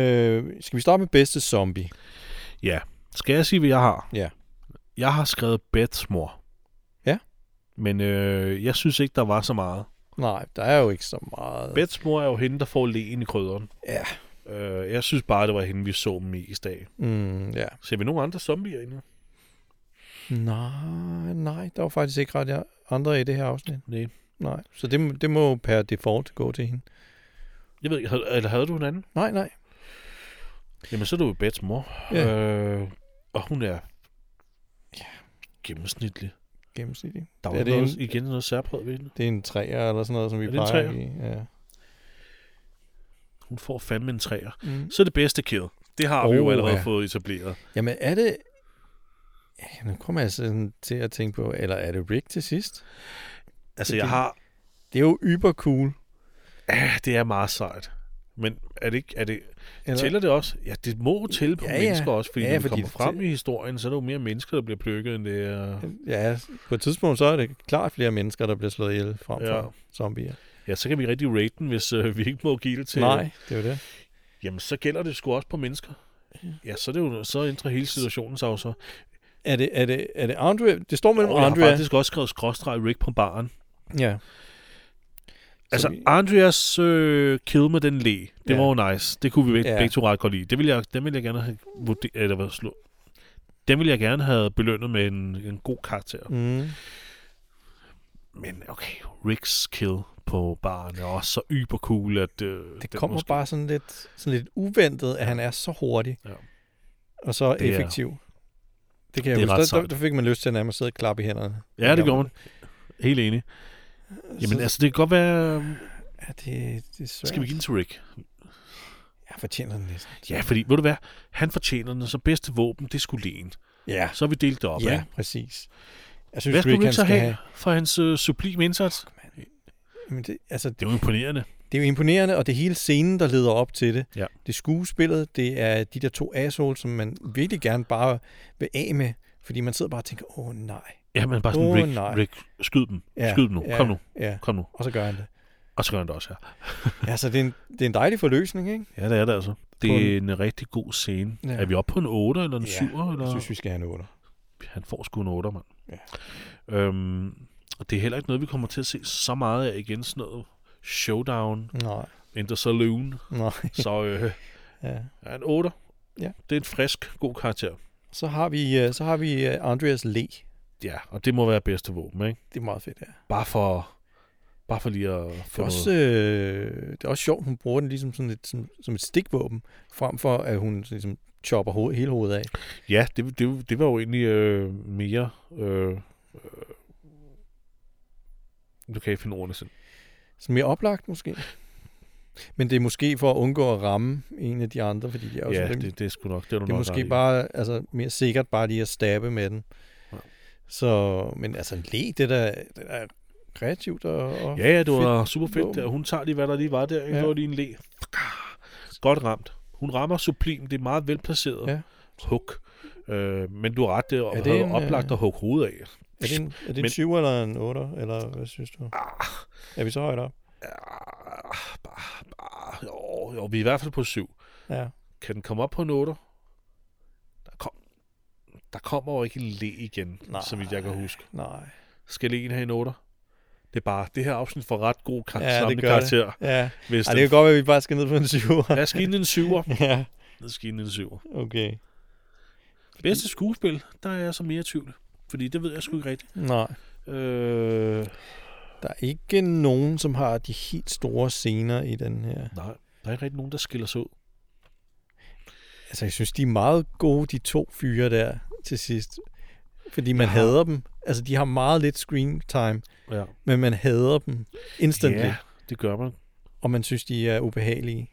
[SPEAKER 2] Øh, skal vi starte med bedste zombie?
[SPEAKER 1] Ja. Skal jeg sige, hvad jeg har?
[SPEAKER 2] Ja.
[SPEAKER 1] Jeg har skrevet Bets mor.
[SPEAKER 2] Ja.
[SPEAKER 1] Men øh, jeg synes ikke, der var så meget.
[SPEAKER 2] Nej, der er jo ikke så meget.
[SPEAKER 1] Bets mor er jo hende, der får lægen i krydderen.
[SPEAKER 2] Ja.
[SPEAKER 1] Øh, jeg synes bare, det var hende, vi så mest af.
[SPEAKER 2] Mm, ja.
[SPEAKER 1] Ser vi nogle andre zombier endnu?
[SPEAKER 2] Nej, nej, der var faktisk ikke ret andre i det her afsnit.
[SPEAKER 1] Nej.
[SPEAKER 2] Nej, så det, må- det må jo per default gå til hende.
[SPEAKER 1] Jeg ved ikke, havde- eller havde du en anden?
[SPEAKER 2] Nej, nej.
[SPEAKER 1] Jamen, så er du jo Bets mor.
[SPEAKER 2] Ja.
[SPEAKER 1] Øh, og hun er gennemsnitlig.
[SPEAKER 2] Gennemsnitlig.
[SPEAKER 1] Der
[SPEAKER 2] Ja,
[SPEAKER 1] var
[SPEAKER 2] det er
[SPEAKER 1] noget,
[SPEAKER 2] en-
[SPEAKER 1] igen noget særpræget ved hende.
[SPEAKER 2] Det er en træer eller sådan noget, som vi
[SPEAKER 1] Er det en
[SPEAKER 2] plejer.
[SPEAKER 1] treer?
[SPEAKER 2] i. Ja.
[SPEAKER 1] Hun får fandme en træer.
[SPEAKER 2] Mm.
[SPEAKER 1] Så er det bedste kid. Det har oh, vi jo
[SPEAKER 2] Oh,
[SPEAKER 1] allerede
[SPEAKER 2] ja.
[SPEAKER 1] ja. fået etableret.
[SPEAKER 2] Jamen er det... Ja, Nu kommer jeg sådan til at tænke på, eller er det Rick til sidst?
[SPEAKER 1] Altså,
[SPEAKER 2] Det-
[SPEAKER 1] jeg har...
[SPEAKER 2] Det er jo yber cool.
[SPEAKER 1] Ja, det er meget sejt. Men er det ikke... Er det,
[SPEAKER 2] Eller-
[SPEAKER 1] Tæller det også? Ja, det må jo tælle på
[SPEAKER 2] Ja,
[SPEAKER 1] ja,
[SPEAKER 2] ja.
[SPEAKER 1] mennesker også, fordi
[SPEAKER 2] Ja,
[SPEAKER 1] ja, når det
[SPEAKER 2] fordi
[SPEAKER 1] kommer
[SPEAKER 2] det
[SPEAKER 1] frem
[SPEAKER 2] tæ-
[SPEAKER 1] i historien, så er der jo mere mennesker, der bliver plukket, end det er...
[SPEAKER 2] Ja, på et tidspunkt så er det klart flere mennesker, der bliver slået ihjel frem ja.
[SPEAKER 1] Ja.
[SPEAKER 2] for zombier.
[SPEAKER 1] Ja, så kan vi rigtig rate den, hvis øh, vi ikke må give det til...
[SPEAKER 2] Nej, det er jo det.
[SPEAKER 1] Jamen, så gælder det sgu også på mennesker. Ja, så er det jo, så ændrer hele situationen sig jo så.
[SPEAKER 2] Er det, er det, er det Andrea? Det står mellem
[SPEAKER 1] Og jeg har
[SPEAKER 2] Andrea.
[SPEAKER 1] faktisk også skrevet skråstreg Rick på baren.
[SPEAKER 2] Ja.
[SPEAKER 1] Altså,
[SPEAKER 2] vi-
[SPEAKER 1] Andreas øh, kill med den læ, det
[SPEAKER 2] Ja.
[SPEAKER 1] ja. var jo nice. Det kunne vi begge,
[SPEAKER 2] Ja.
[SPEAKER 1] ja. begge to ret godt lide. Det ville jeg, den ville jeg gerne have vurder- eller hvad, slå. Den ville jeg gerne have belønnet med en, en god karakter.
[SPEAKER 2] Mm.
[SPEAKER 1] Men okay, Ricks kill på baren er også så ybercool, at... Øh,
[SPEAKER 2] Det
[SPEAKER 1] den
[SPEAKER 2] kommer
[SPEAKER 1] måske-
[SPEAKER 2] bare sådan lidt, sådan lidt uventet, at han er så hurtig
[SPEAKER 1] Ja.
[SPEAKER 2] og så
[SPEAKER 1] Det er-
[SPEAKER 2] effektiv. Det kan jeg
[SPEAKER 1] det er
[SPEAKER 2] huske.
[SPEAKER 1] ret
[SPEAKER 2] Der, der,
[SPEAKER 1] sejt.
[SPEAKER 2] der fik man lyst til at nærmest sidde og klappe i hænderne.
[SPEAKER 1] Ja, det gjorde man. Helt enig. Jamen,
[SPEAKER 2] så,
[SPEAKER 1] altså, det kan godt være...
[SPEAKER 2] ja, det, det er svært.
[SPEAKER 1] Skal vi give den til Rick?
[SPEAKER 2] Jeg fortjener den næsten.
[SPEAKER 1] Ja, fordi, ved du hvad? Han fortjener den, så bedste våben, det skulle lægen.
[SPEAKER 2] Ja,
[SPEAKER 1] Så har vi delt det op,
[SPEAKER 2] ja
[SPEAKER 1] ikke?
[SPEAKER 2] præcis. Jeg
[SPEAKER 1] Hvad
[SPEAKER 2] synes,
[SPEAKER 1] skulle
[SPEAKER 2] Rick,
[SPEAKER 1] Rick
[SPEAKER 2] han
[SPEAKER 1] så
[SPEAKER 2] skal
[SPEAKER 1] have,
[SPEAKER 2] have...
[SPEAKER 1] for hans øh, sublime indsats?
[SPEAKER 2] Men det, altså,
[SPEAKER 1] Det er jo imponerende.
[SPEAKER 2] det er jo imponerende, og det er hele scenen, der leder op til det.
[SPEAKER 1] Ja.
[SPEAKER 2] Det er skuespillet, det er de der to assholes, som man virkelig gerne bare vil af med, fordi man sidder bare og tænker, åh nej.
[SPEAKER 1] Ja, men bare sådan,
[SPEAKER 2] Åh,
[SPEAKER 1] Rick,
[SPEAKER 2] nej.
[SPEAKER 1] Rick, skyd dem.
[SPEAKER 2] Ja,
[SPEAKER 1] Skyd dem nu.
[SPEAKER 2] ja,
[SPEAKER 1] Kom nu.
[SPEAKER 2] Ja,
[SPEAKER 1] Kom nu.
[SPEAKER 2] og så gør han det.
[SPEAKER 1] Og så gør han det også her.
[SPEAKER 2] Ja, så det er en, det er en dejlig forløsning, ikke?
[SPEAKER 1] Ja, det er det altså. Det er en rigtig god scene. Ja.
[SPEAKER 2] Ja.
[SPEAKER 1] Er vi oppe på en 8 eller en
[SPEAKER 2] Ja,
[SPEAKER 1] 7? Eller?
[SPEAKER 2] Jeg synes, vi skal have en otter.
[SPEAKER 1] Han får sgu en 8, mand.
[SPEAKER 2] Ja.
[SPEAKER 1] Øhm, og det er heller ikke noget, vi kommer til at se så meget af igen. Sådan noget showdown
[SPEAKER 2] Nej,
[SPEAKER 1] in the
[SPEAKER 2] (laughs)
[SPEAKER 1] saloon.
[SPEAKER 2] nej.
[SPEAKER 1] Så øh,
[SPEAKER 2] Ja.
[SPEAKER 1] ja, en 8.
[SPEAKER 2] Ja.
[SPEAKER 1] Det er en frisk, god karakter.
[SPEAKER 2] Så har vi, øh, så har vi øh, Andreas Le.
[SPEAKER 1] Ja, og det må være bedste våben, ikke?
[SPEAKER 2] Det er meget fedt, ja. Det
[SPEAKER 1] Bare for, bare for lige at få
[SPEAKER 2] er, også,
[SPEAKER 1] noget.
[SPEAKER 2] øh, det er også sjovt, hun bruger den ligesom sådan et, som, som et stikvåben, frem for at hun ligesom chopper hoved, hele hovedet af.
[SPEAKER 1] Ja, det, det, det var jo egentlig øh, mere... Øh, øh, nu kan jeg ikke finde ordene selv.
[SPEAKER 2] Som mere oplagt måske. Men det er måske for at undgå at ramme en af de andre, fordi de er også
[SPEAKER 1] Ja,
[SPEAKER 2] rimelig-
[SPEAKER 1] det, det er sgu nok. Det er, du
[SPEAKER 2] det er
[SPEAKER 1] nok ret
[SPEAKER 2] måske
[SPEAKER 1] i.
[SPEAKER 2] bare altså, mere sikkert bare lige at stabbe med den.
[SPEAKER 1] Ja.
[SPEAKER 2] Så, men altså en le, det er da det er da kreativt og, og
[SPEAKER 1] Ja, ja, det
[SPEAKER 2] fedt
[SPEAKER 1] var super fedt.
[SPEAKER 2] våben.
[SPEAKER 1] Der. Hun tager lige, hvad der lige var der. Ikke?
[SPEAKER 2] Ja.
[SPEAKER 1] Det var lige en læ. Godt ramt. Hun rammer sublim. Det er meget velplaceret.
[SPEAKER 2] Ja.
[SPEAKER 1] Hug. Øh, men du har ret, det er,
[SPEAKER 2] Er
[SPEAKER 1] det
[SPEAKER 2] det
[SPEAKER 1] en,
[SPEAKER 2] en,
[SPEAKER 1] oplagt
[SPEAKER 2] øh,
[SPEAKER 1] at hugge hovedet af.
[SPEAKER 2] Er det en, er det
[SPEAKER 1] Men-
[SPEAKER 2] en 7 eller en 8, eller hvad synes du? Er vi så højt op?
[SPEAKER 1] Ah, bah, bah. Jo, jo, vi er i hvert fald på syv.
[SPEAKER 2] Ja.
[SPEAKER 1] Kan den komme op på en otter? Der, kom, der kommer jo ikke en læ igen, Nej.
[SPEAKER 2] Nej.
[SPEAKER 1] som jeg kan huske.
[SPEAKER 2] Nej.
[SPEAKER 1] Skal lægen have en otter? Det er bare, det her afsnit får ret god kar-
[SPEAKER 2] Ja, det
[SPEAKER 1] samlet
[SPEAKER 2] gør det.
[SPEAKER 1] karakter. Det.
[SPEAKER 2] Ja.
[SPEAKER 1] Hvis
[SPEAKER 2] Ej, det kan godt være, at vi bare skal ned på en 7.
[SPEAKER 1] Lad os give den en syver.
[SPEAKER 2] ja,
[SPEAKER 1] Lad os give den en syver.
[SPEAKER 2] okay.
[SPEAKER 1] Bedste skuespil, der er jeg så mere i tvivl. Fordi det ved jeg sgu ikke rigtigt.
[SPEAKER 2] Nej.
[SPEAKER 1] Øh,
[SPEAKER 2] Der er ikke nogen, som har de helt store scener i den her.
[SPEAKER 1] nej, der er ikke rigtig nogen, der skiller sig ud.
[SPEAKER 2] Altså, jeg synes, de er meget gode, de to fyre der til sidst. Fordi man
[SPEAKER 1] Ja.
[SPEAKER 2] hader dem. Altså, de har meget lidt screen time,
[SPEAKER 1] Ja,
[SPEAKER 2] men man hader dem instantly.
[SPEAKER 1] ja det gør man.
[SPEAKER 2] Og man synes, de er ubehagelige.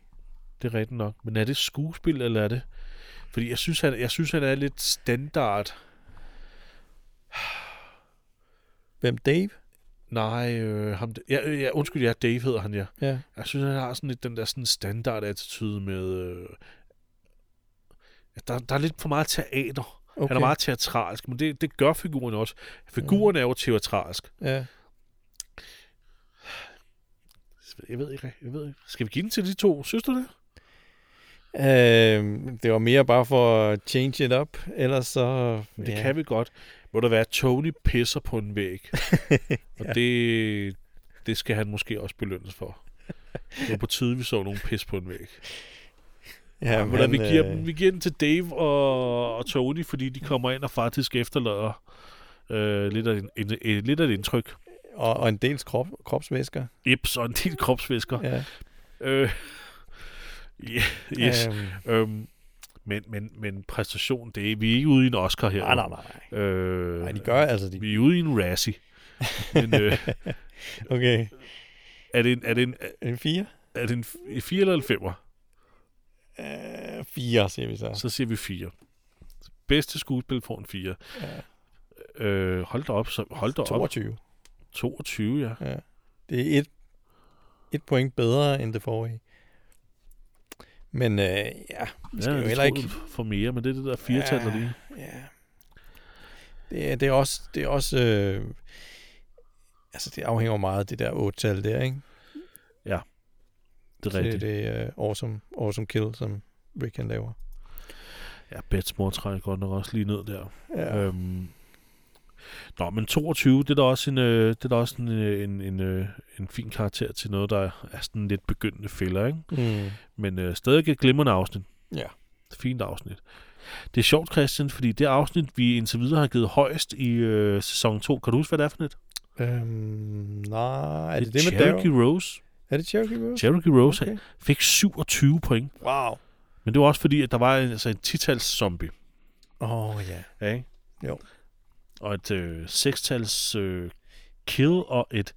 [SPEAKER 1] Det er rigtigt nok. Men er det skuespil, eller er det... Fordi jeg synes, han, jeg synes, han er lidt standard.
[SPEAKER 2] Hvem? Dave?
[SPEAKER 1] Nej, øh, ham, ja, øh, ja, undskyld, ja, Dave hedder han, ja.
[SPEAKER 2] Ja.
[SPEAKER 1] Jeg synes, han har sådan lidt den der sådan standard attitude med... Øh, at der, der er lidt for meget teater. Okay. Mm.
[SPEAKER 2] Okay.
[SPEAKER 1] Han er meget teatralsk, men det, det gør figuren også. Figuren er jo teatralsk.
[SPEAKER 2] Ja.
[SPEAKER 1] Jeg ved ikke, jeg ved ikke. Skal vi give den til de to? Synes du det?
[SPEAKER 2] Øh, det var mere bare for at change it up. Ellers så...
[SPEAKER 1] Det
[SPEAKER 2] ja.
[SPEAKER 1] kan vi godt. Må der være, at Tony pisser på en
[SPEAKER 2] (laughs)
[SPEAKER 1] væg. Og det, det skal han måske også belønnes for. Det var på tide, vi så nogen pis på en væg.
[SPEAKER 2] Ja,
[SPEAKER 1] Jamen, Hvordan, vi, giver
[SPEAKER 2] øh,
[SPEAKER 1] dem, vi giver den til Dave og, og Tony, fordi de kommer ind og faktisk efterlader øh, lidt, af en, en, en, lidt af et indtryk.
[SPEAKER 2] Og, og en del krop, kropsvæsker.
[SPEAKER 1] Ips og en del kropsvæsker.
[SPEAKER 2] Ja.
[SPEAKER 1] Øh, yeah, yes.
[SPEAKER 2] Øhm,
[SPEAKER 1] Øhm, men, men, men præstation, det er, vi er ikke ude i en Oscar her.
[SPEAKER 2] nej, nej, nej. nej.
[SPEAKER 1] Øh,
[SPEAKER 2] Nej, de gør altså de.
[SPEAKER 1] Vi er ude i en Razzie. Men øh,
[SPEAKER 2] (laughs) Okay.
[SPEAKER 1] er, det en, er, det en,
[SPEAKER 2] Er det fire?
[SPEAKER 1] er det en 4 eller en 5'er?
[SPEAKER 2] Øh, fire, siger vi så.
[SPEAKER 1] Så siger vi 4. Bedste skuespil får en 4.
[SPEAKER 2] Ja.
[SPEAKER 1] Øh, hold da op. Så, hold da op.
[SPEAKER 2] 22.
[SPEAKER 1] 22, ja.
[SPEAKER 2] Ja. Det er et, et point bedre end det forrige. Men øh, ja, vi
[SPEAKER 1] ja,
[SPEAKER 2] skal ja, jo
[SPEAKER 1] jeg
[SPEAKER 2] heller
[SPEAKER 1] troede,
[SPEAKER 2] ikke...
[SPEAKER 1] vi får mere, men det er det der 4 tal
[SPEAKER 2] Ja.
[SPEAKER 1] lige.
[SPEAKER 2] Ja. Det, er, det er også... Det er også øh, altså, det afhænger jo meget af det der 8-tal der, ikke?
[SPEAKER 1] Det er
[SPEAKER 2] Det er
[SPEAKER 1] rigtigt. Det.
[SPEAKER 2] det uh, awesome, awesome Kill, som Rick han laver.
[SPEAKER 1] Ja, Bets mor trækker godt nok også lige ned der.
[SPEAKER 2] Ja.
[SPEAKER 1] Ja. Øhm, Nå, men 22, det er da også en, øh, det er da også en, øh, en, en, øh, en fin karakter til noget, der er sådan lidt begyndende fælder, ikke?
[SPEAKER 2] Mm.
[SPEAKER 1] Men øh, stadig et glimrende afsnit.
[SPEAKER 2] Ja.
[SPEAKER 1] Fint afsnit. Det er sjovt, Christian, fordi det afsnit, vi indtil videre har givet højst i øh, sæson 2, kan du huske, hvad det er for et?
[SPEAKER 2] Øhm, nej, er det det, med
[SPEAKER 1] Cherokee
[SPEAKER 2] Daryl?
[SPEAKER 1] Rose.
[SPEAKER 2] Er det Cherokee Rose?
[SPEAKER 1] Cherokee Rose okay.
[SPEAKER 2] Okay.
[SPEAKER 1] fik 27 point.
[SPEAKER 2] Wow.
[SPEAKER 1] Men det var også fordi, at der var en, altså en titals zombie.
[SPEAKER 2] Åh, oh, ja.
[SPEAKER 1] Ja, ikke?
[SPEAKER 2] Jo.
[SPEAKER 1] Og et øh, sekstals øh, kill og et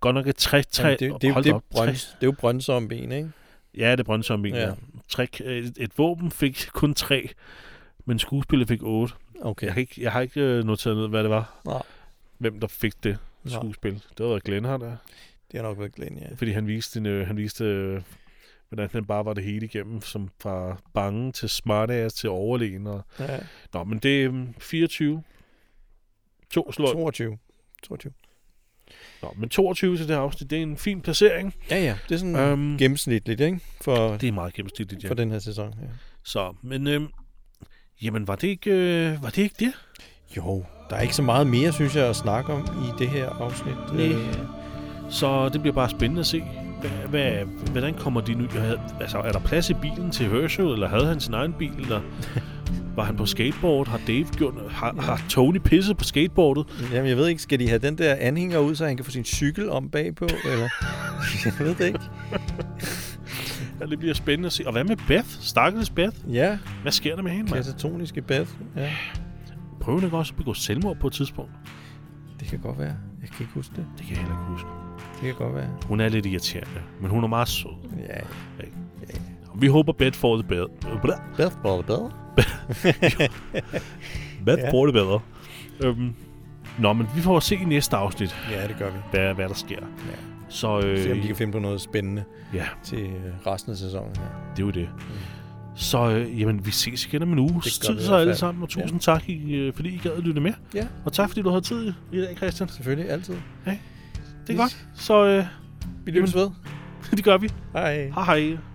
[SPEAKER 1] godt nok et tre, tre,
[SPEAKER 2] Jamen, det, det, det,
[SPEAKER 1] hold
[SPEAKER 2] det,
[SPEAKER 1] da
[SPEAKER 2] det,
[SPEAKER 1] op,
[SPEAKER 2] brøn,
[SPEAKER 1] tre,
[SPEAKER 2] det er jo brøndsombien, ikke?
[SPEAKER 1] ja, det er brøndzombien, ja.
[SPEAKER 2] Ja.
[SPEAKER 1] ja. Tre, et, et, våben fik kun tre, men skuespillet fik otte.
[SPEAKER 2] Okay.
[SPEAKER 1] Jeg, kan ikke, jeg har ikke øh, noteret ned, hvad det var.
[SPEAKER 2] Nej.
[SPEAKER 1] Hvem der fik det
[SPEAKER 2] Nej.
[SPEAKER 1] skuespil. Det var Glenn her, der.
[SPEAKER 2] Det har nok været Glenn, ja.
[SPEAKER 1] Fordi han viste, en, øh, han viste øh, hvordan han bare var det hele igennem, som fra bange til smartass til overlegen. Og...
[SPEAKER 2] ja.
[SPEAKER 1] Nå, men det er øhm, 24. To slår.
[SPEAKER 2] 22. 22.
[SPEAKER 1] Nå, men 22 til det her afsnit, det er en fin placering.
[SPEAKER 2] Ja, ja. Det er sådan
[SPEAKER 1] Mm.
[SPEAKER 2] um,
[SPEAKER 1] Øhm,
[SPEAKER 2] gennemsnitligt, ikke? For,
[SPEAKER 1] det er meget gennemsnitligt, ja.
[SPEAKER 2] for den her sæson. Ja.
[SPEAKER 1] Så, men øhm, jamen, var det ikke, øh, var det, ikke det?
[SPEAKER 2] Jo, der er ikke så meget mere, synes jeg, at snakke om i det her afsnit.
[SPEAKER 1] Nej.
[SPEAKER 2] Øh,
[SPEAKER 1] Så det bliver bare spændende at se. Hvad, hvad, hvordan kommer de nu? Jeg havde- Altså, er der plads i bilen til Herschel, eller havde han sin egen bil, (laughs) eller var han på skateboard? Har Dave gjort, har, har Tony pisset på skateboardet?
[SPEAKER 2] Jamen, jeg ved ikke, skal de have den der anhænger ud, så han kan få sin cykel om bagpå, eller? (laughs) jeg ved det ikke.
[SPEAKER 1] Ja, det bliver spændende at se. Og hvad med Beth? Stakkels Beth?
[SPEAKER 2] Ja,
[SPEAKER 1] Hvad sker der med hende, mand?
[SPEAKER 2] katatoniske bad. Ja,
[SPEAKER 1] Prøver hun ikke også at begå selvmord på et tidspunkt?
[SPEAKER 2] det kan godt være. Jeg kan ikke huske det.
[SPEAKER 1] Det kan jeg heller ikke huske.
[SPEAKER 2] Det kan godt være.
[SPEAKER 1] Hun er lidt irriterende, men hun er meget sød.
[SPEAKER 2] Ja,
[SPEAKER 1] Vi håber, Beth får det bedre. Øh, Blah.
[SPEAKER 2] bad for det bad.
[SPEAKER 1] Beth
[SPEAKER 2] Ja.
[SPEAKER 1] får det bedre. Øhm, nå, men vi får at se i næste afsnit,
[SPEAKER 2] Ja, det gør vi.
[SPEAKER 1] hvad, hvad der sker.
[SPEAKER 2] Ja.
[SPEAKER 1] Så
[SPEAKER 2] Se om
[SPEAKER 1] øh,
[SPEAKER 2] de kan finde på noget spændende
[SPEAKER 1] ja,
[SPEAKER 2] til øh, resten af sæsonen her.
[SPEAKER 1] det er jo det. Så øh, jamen, vi ses igen om en uge.
[SPEAKER 2] Det gør
[SPEAKER 1] Tid
[SPEAKER 2] vi i
[SPEAKER 1] så
[SPEAKER 2] hvert
[SPEAKER 1] alle
[SPEAKER 2] fald.
[SPEAKER 1] sammen, og
[SPEAKER 2] Ja.
[SPEAKER 1] tusind ja. tak, I, øh, fordi I gad at lytte med.
[SPEAKER 2] Ja.
[SPEAKER 1] Og tak, fordi du havde tid i dag, Christian.
[SPEAKER 2] Selvfølgelig, altid.
[SPEAKER 1] Det er
[SPEAKER 2] Yes.
[SPEAKER 1] godt. Så øh, (laughs)
[SPEAKER 2] Vi lyttes ved.
[SPEAKER 1] det gør vi.
[SPEAKER 2] Hej.
[SPEAKER 1] Hej hej.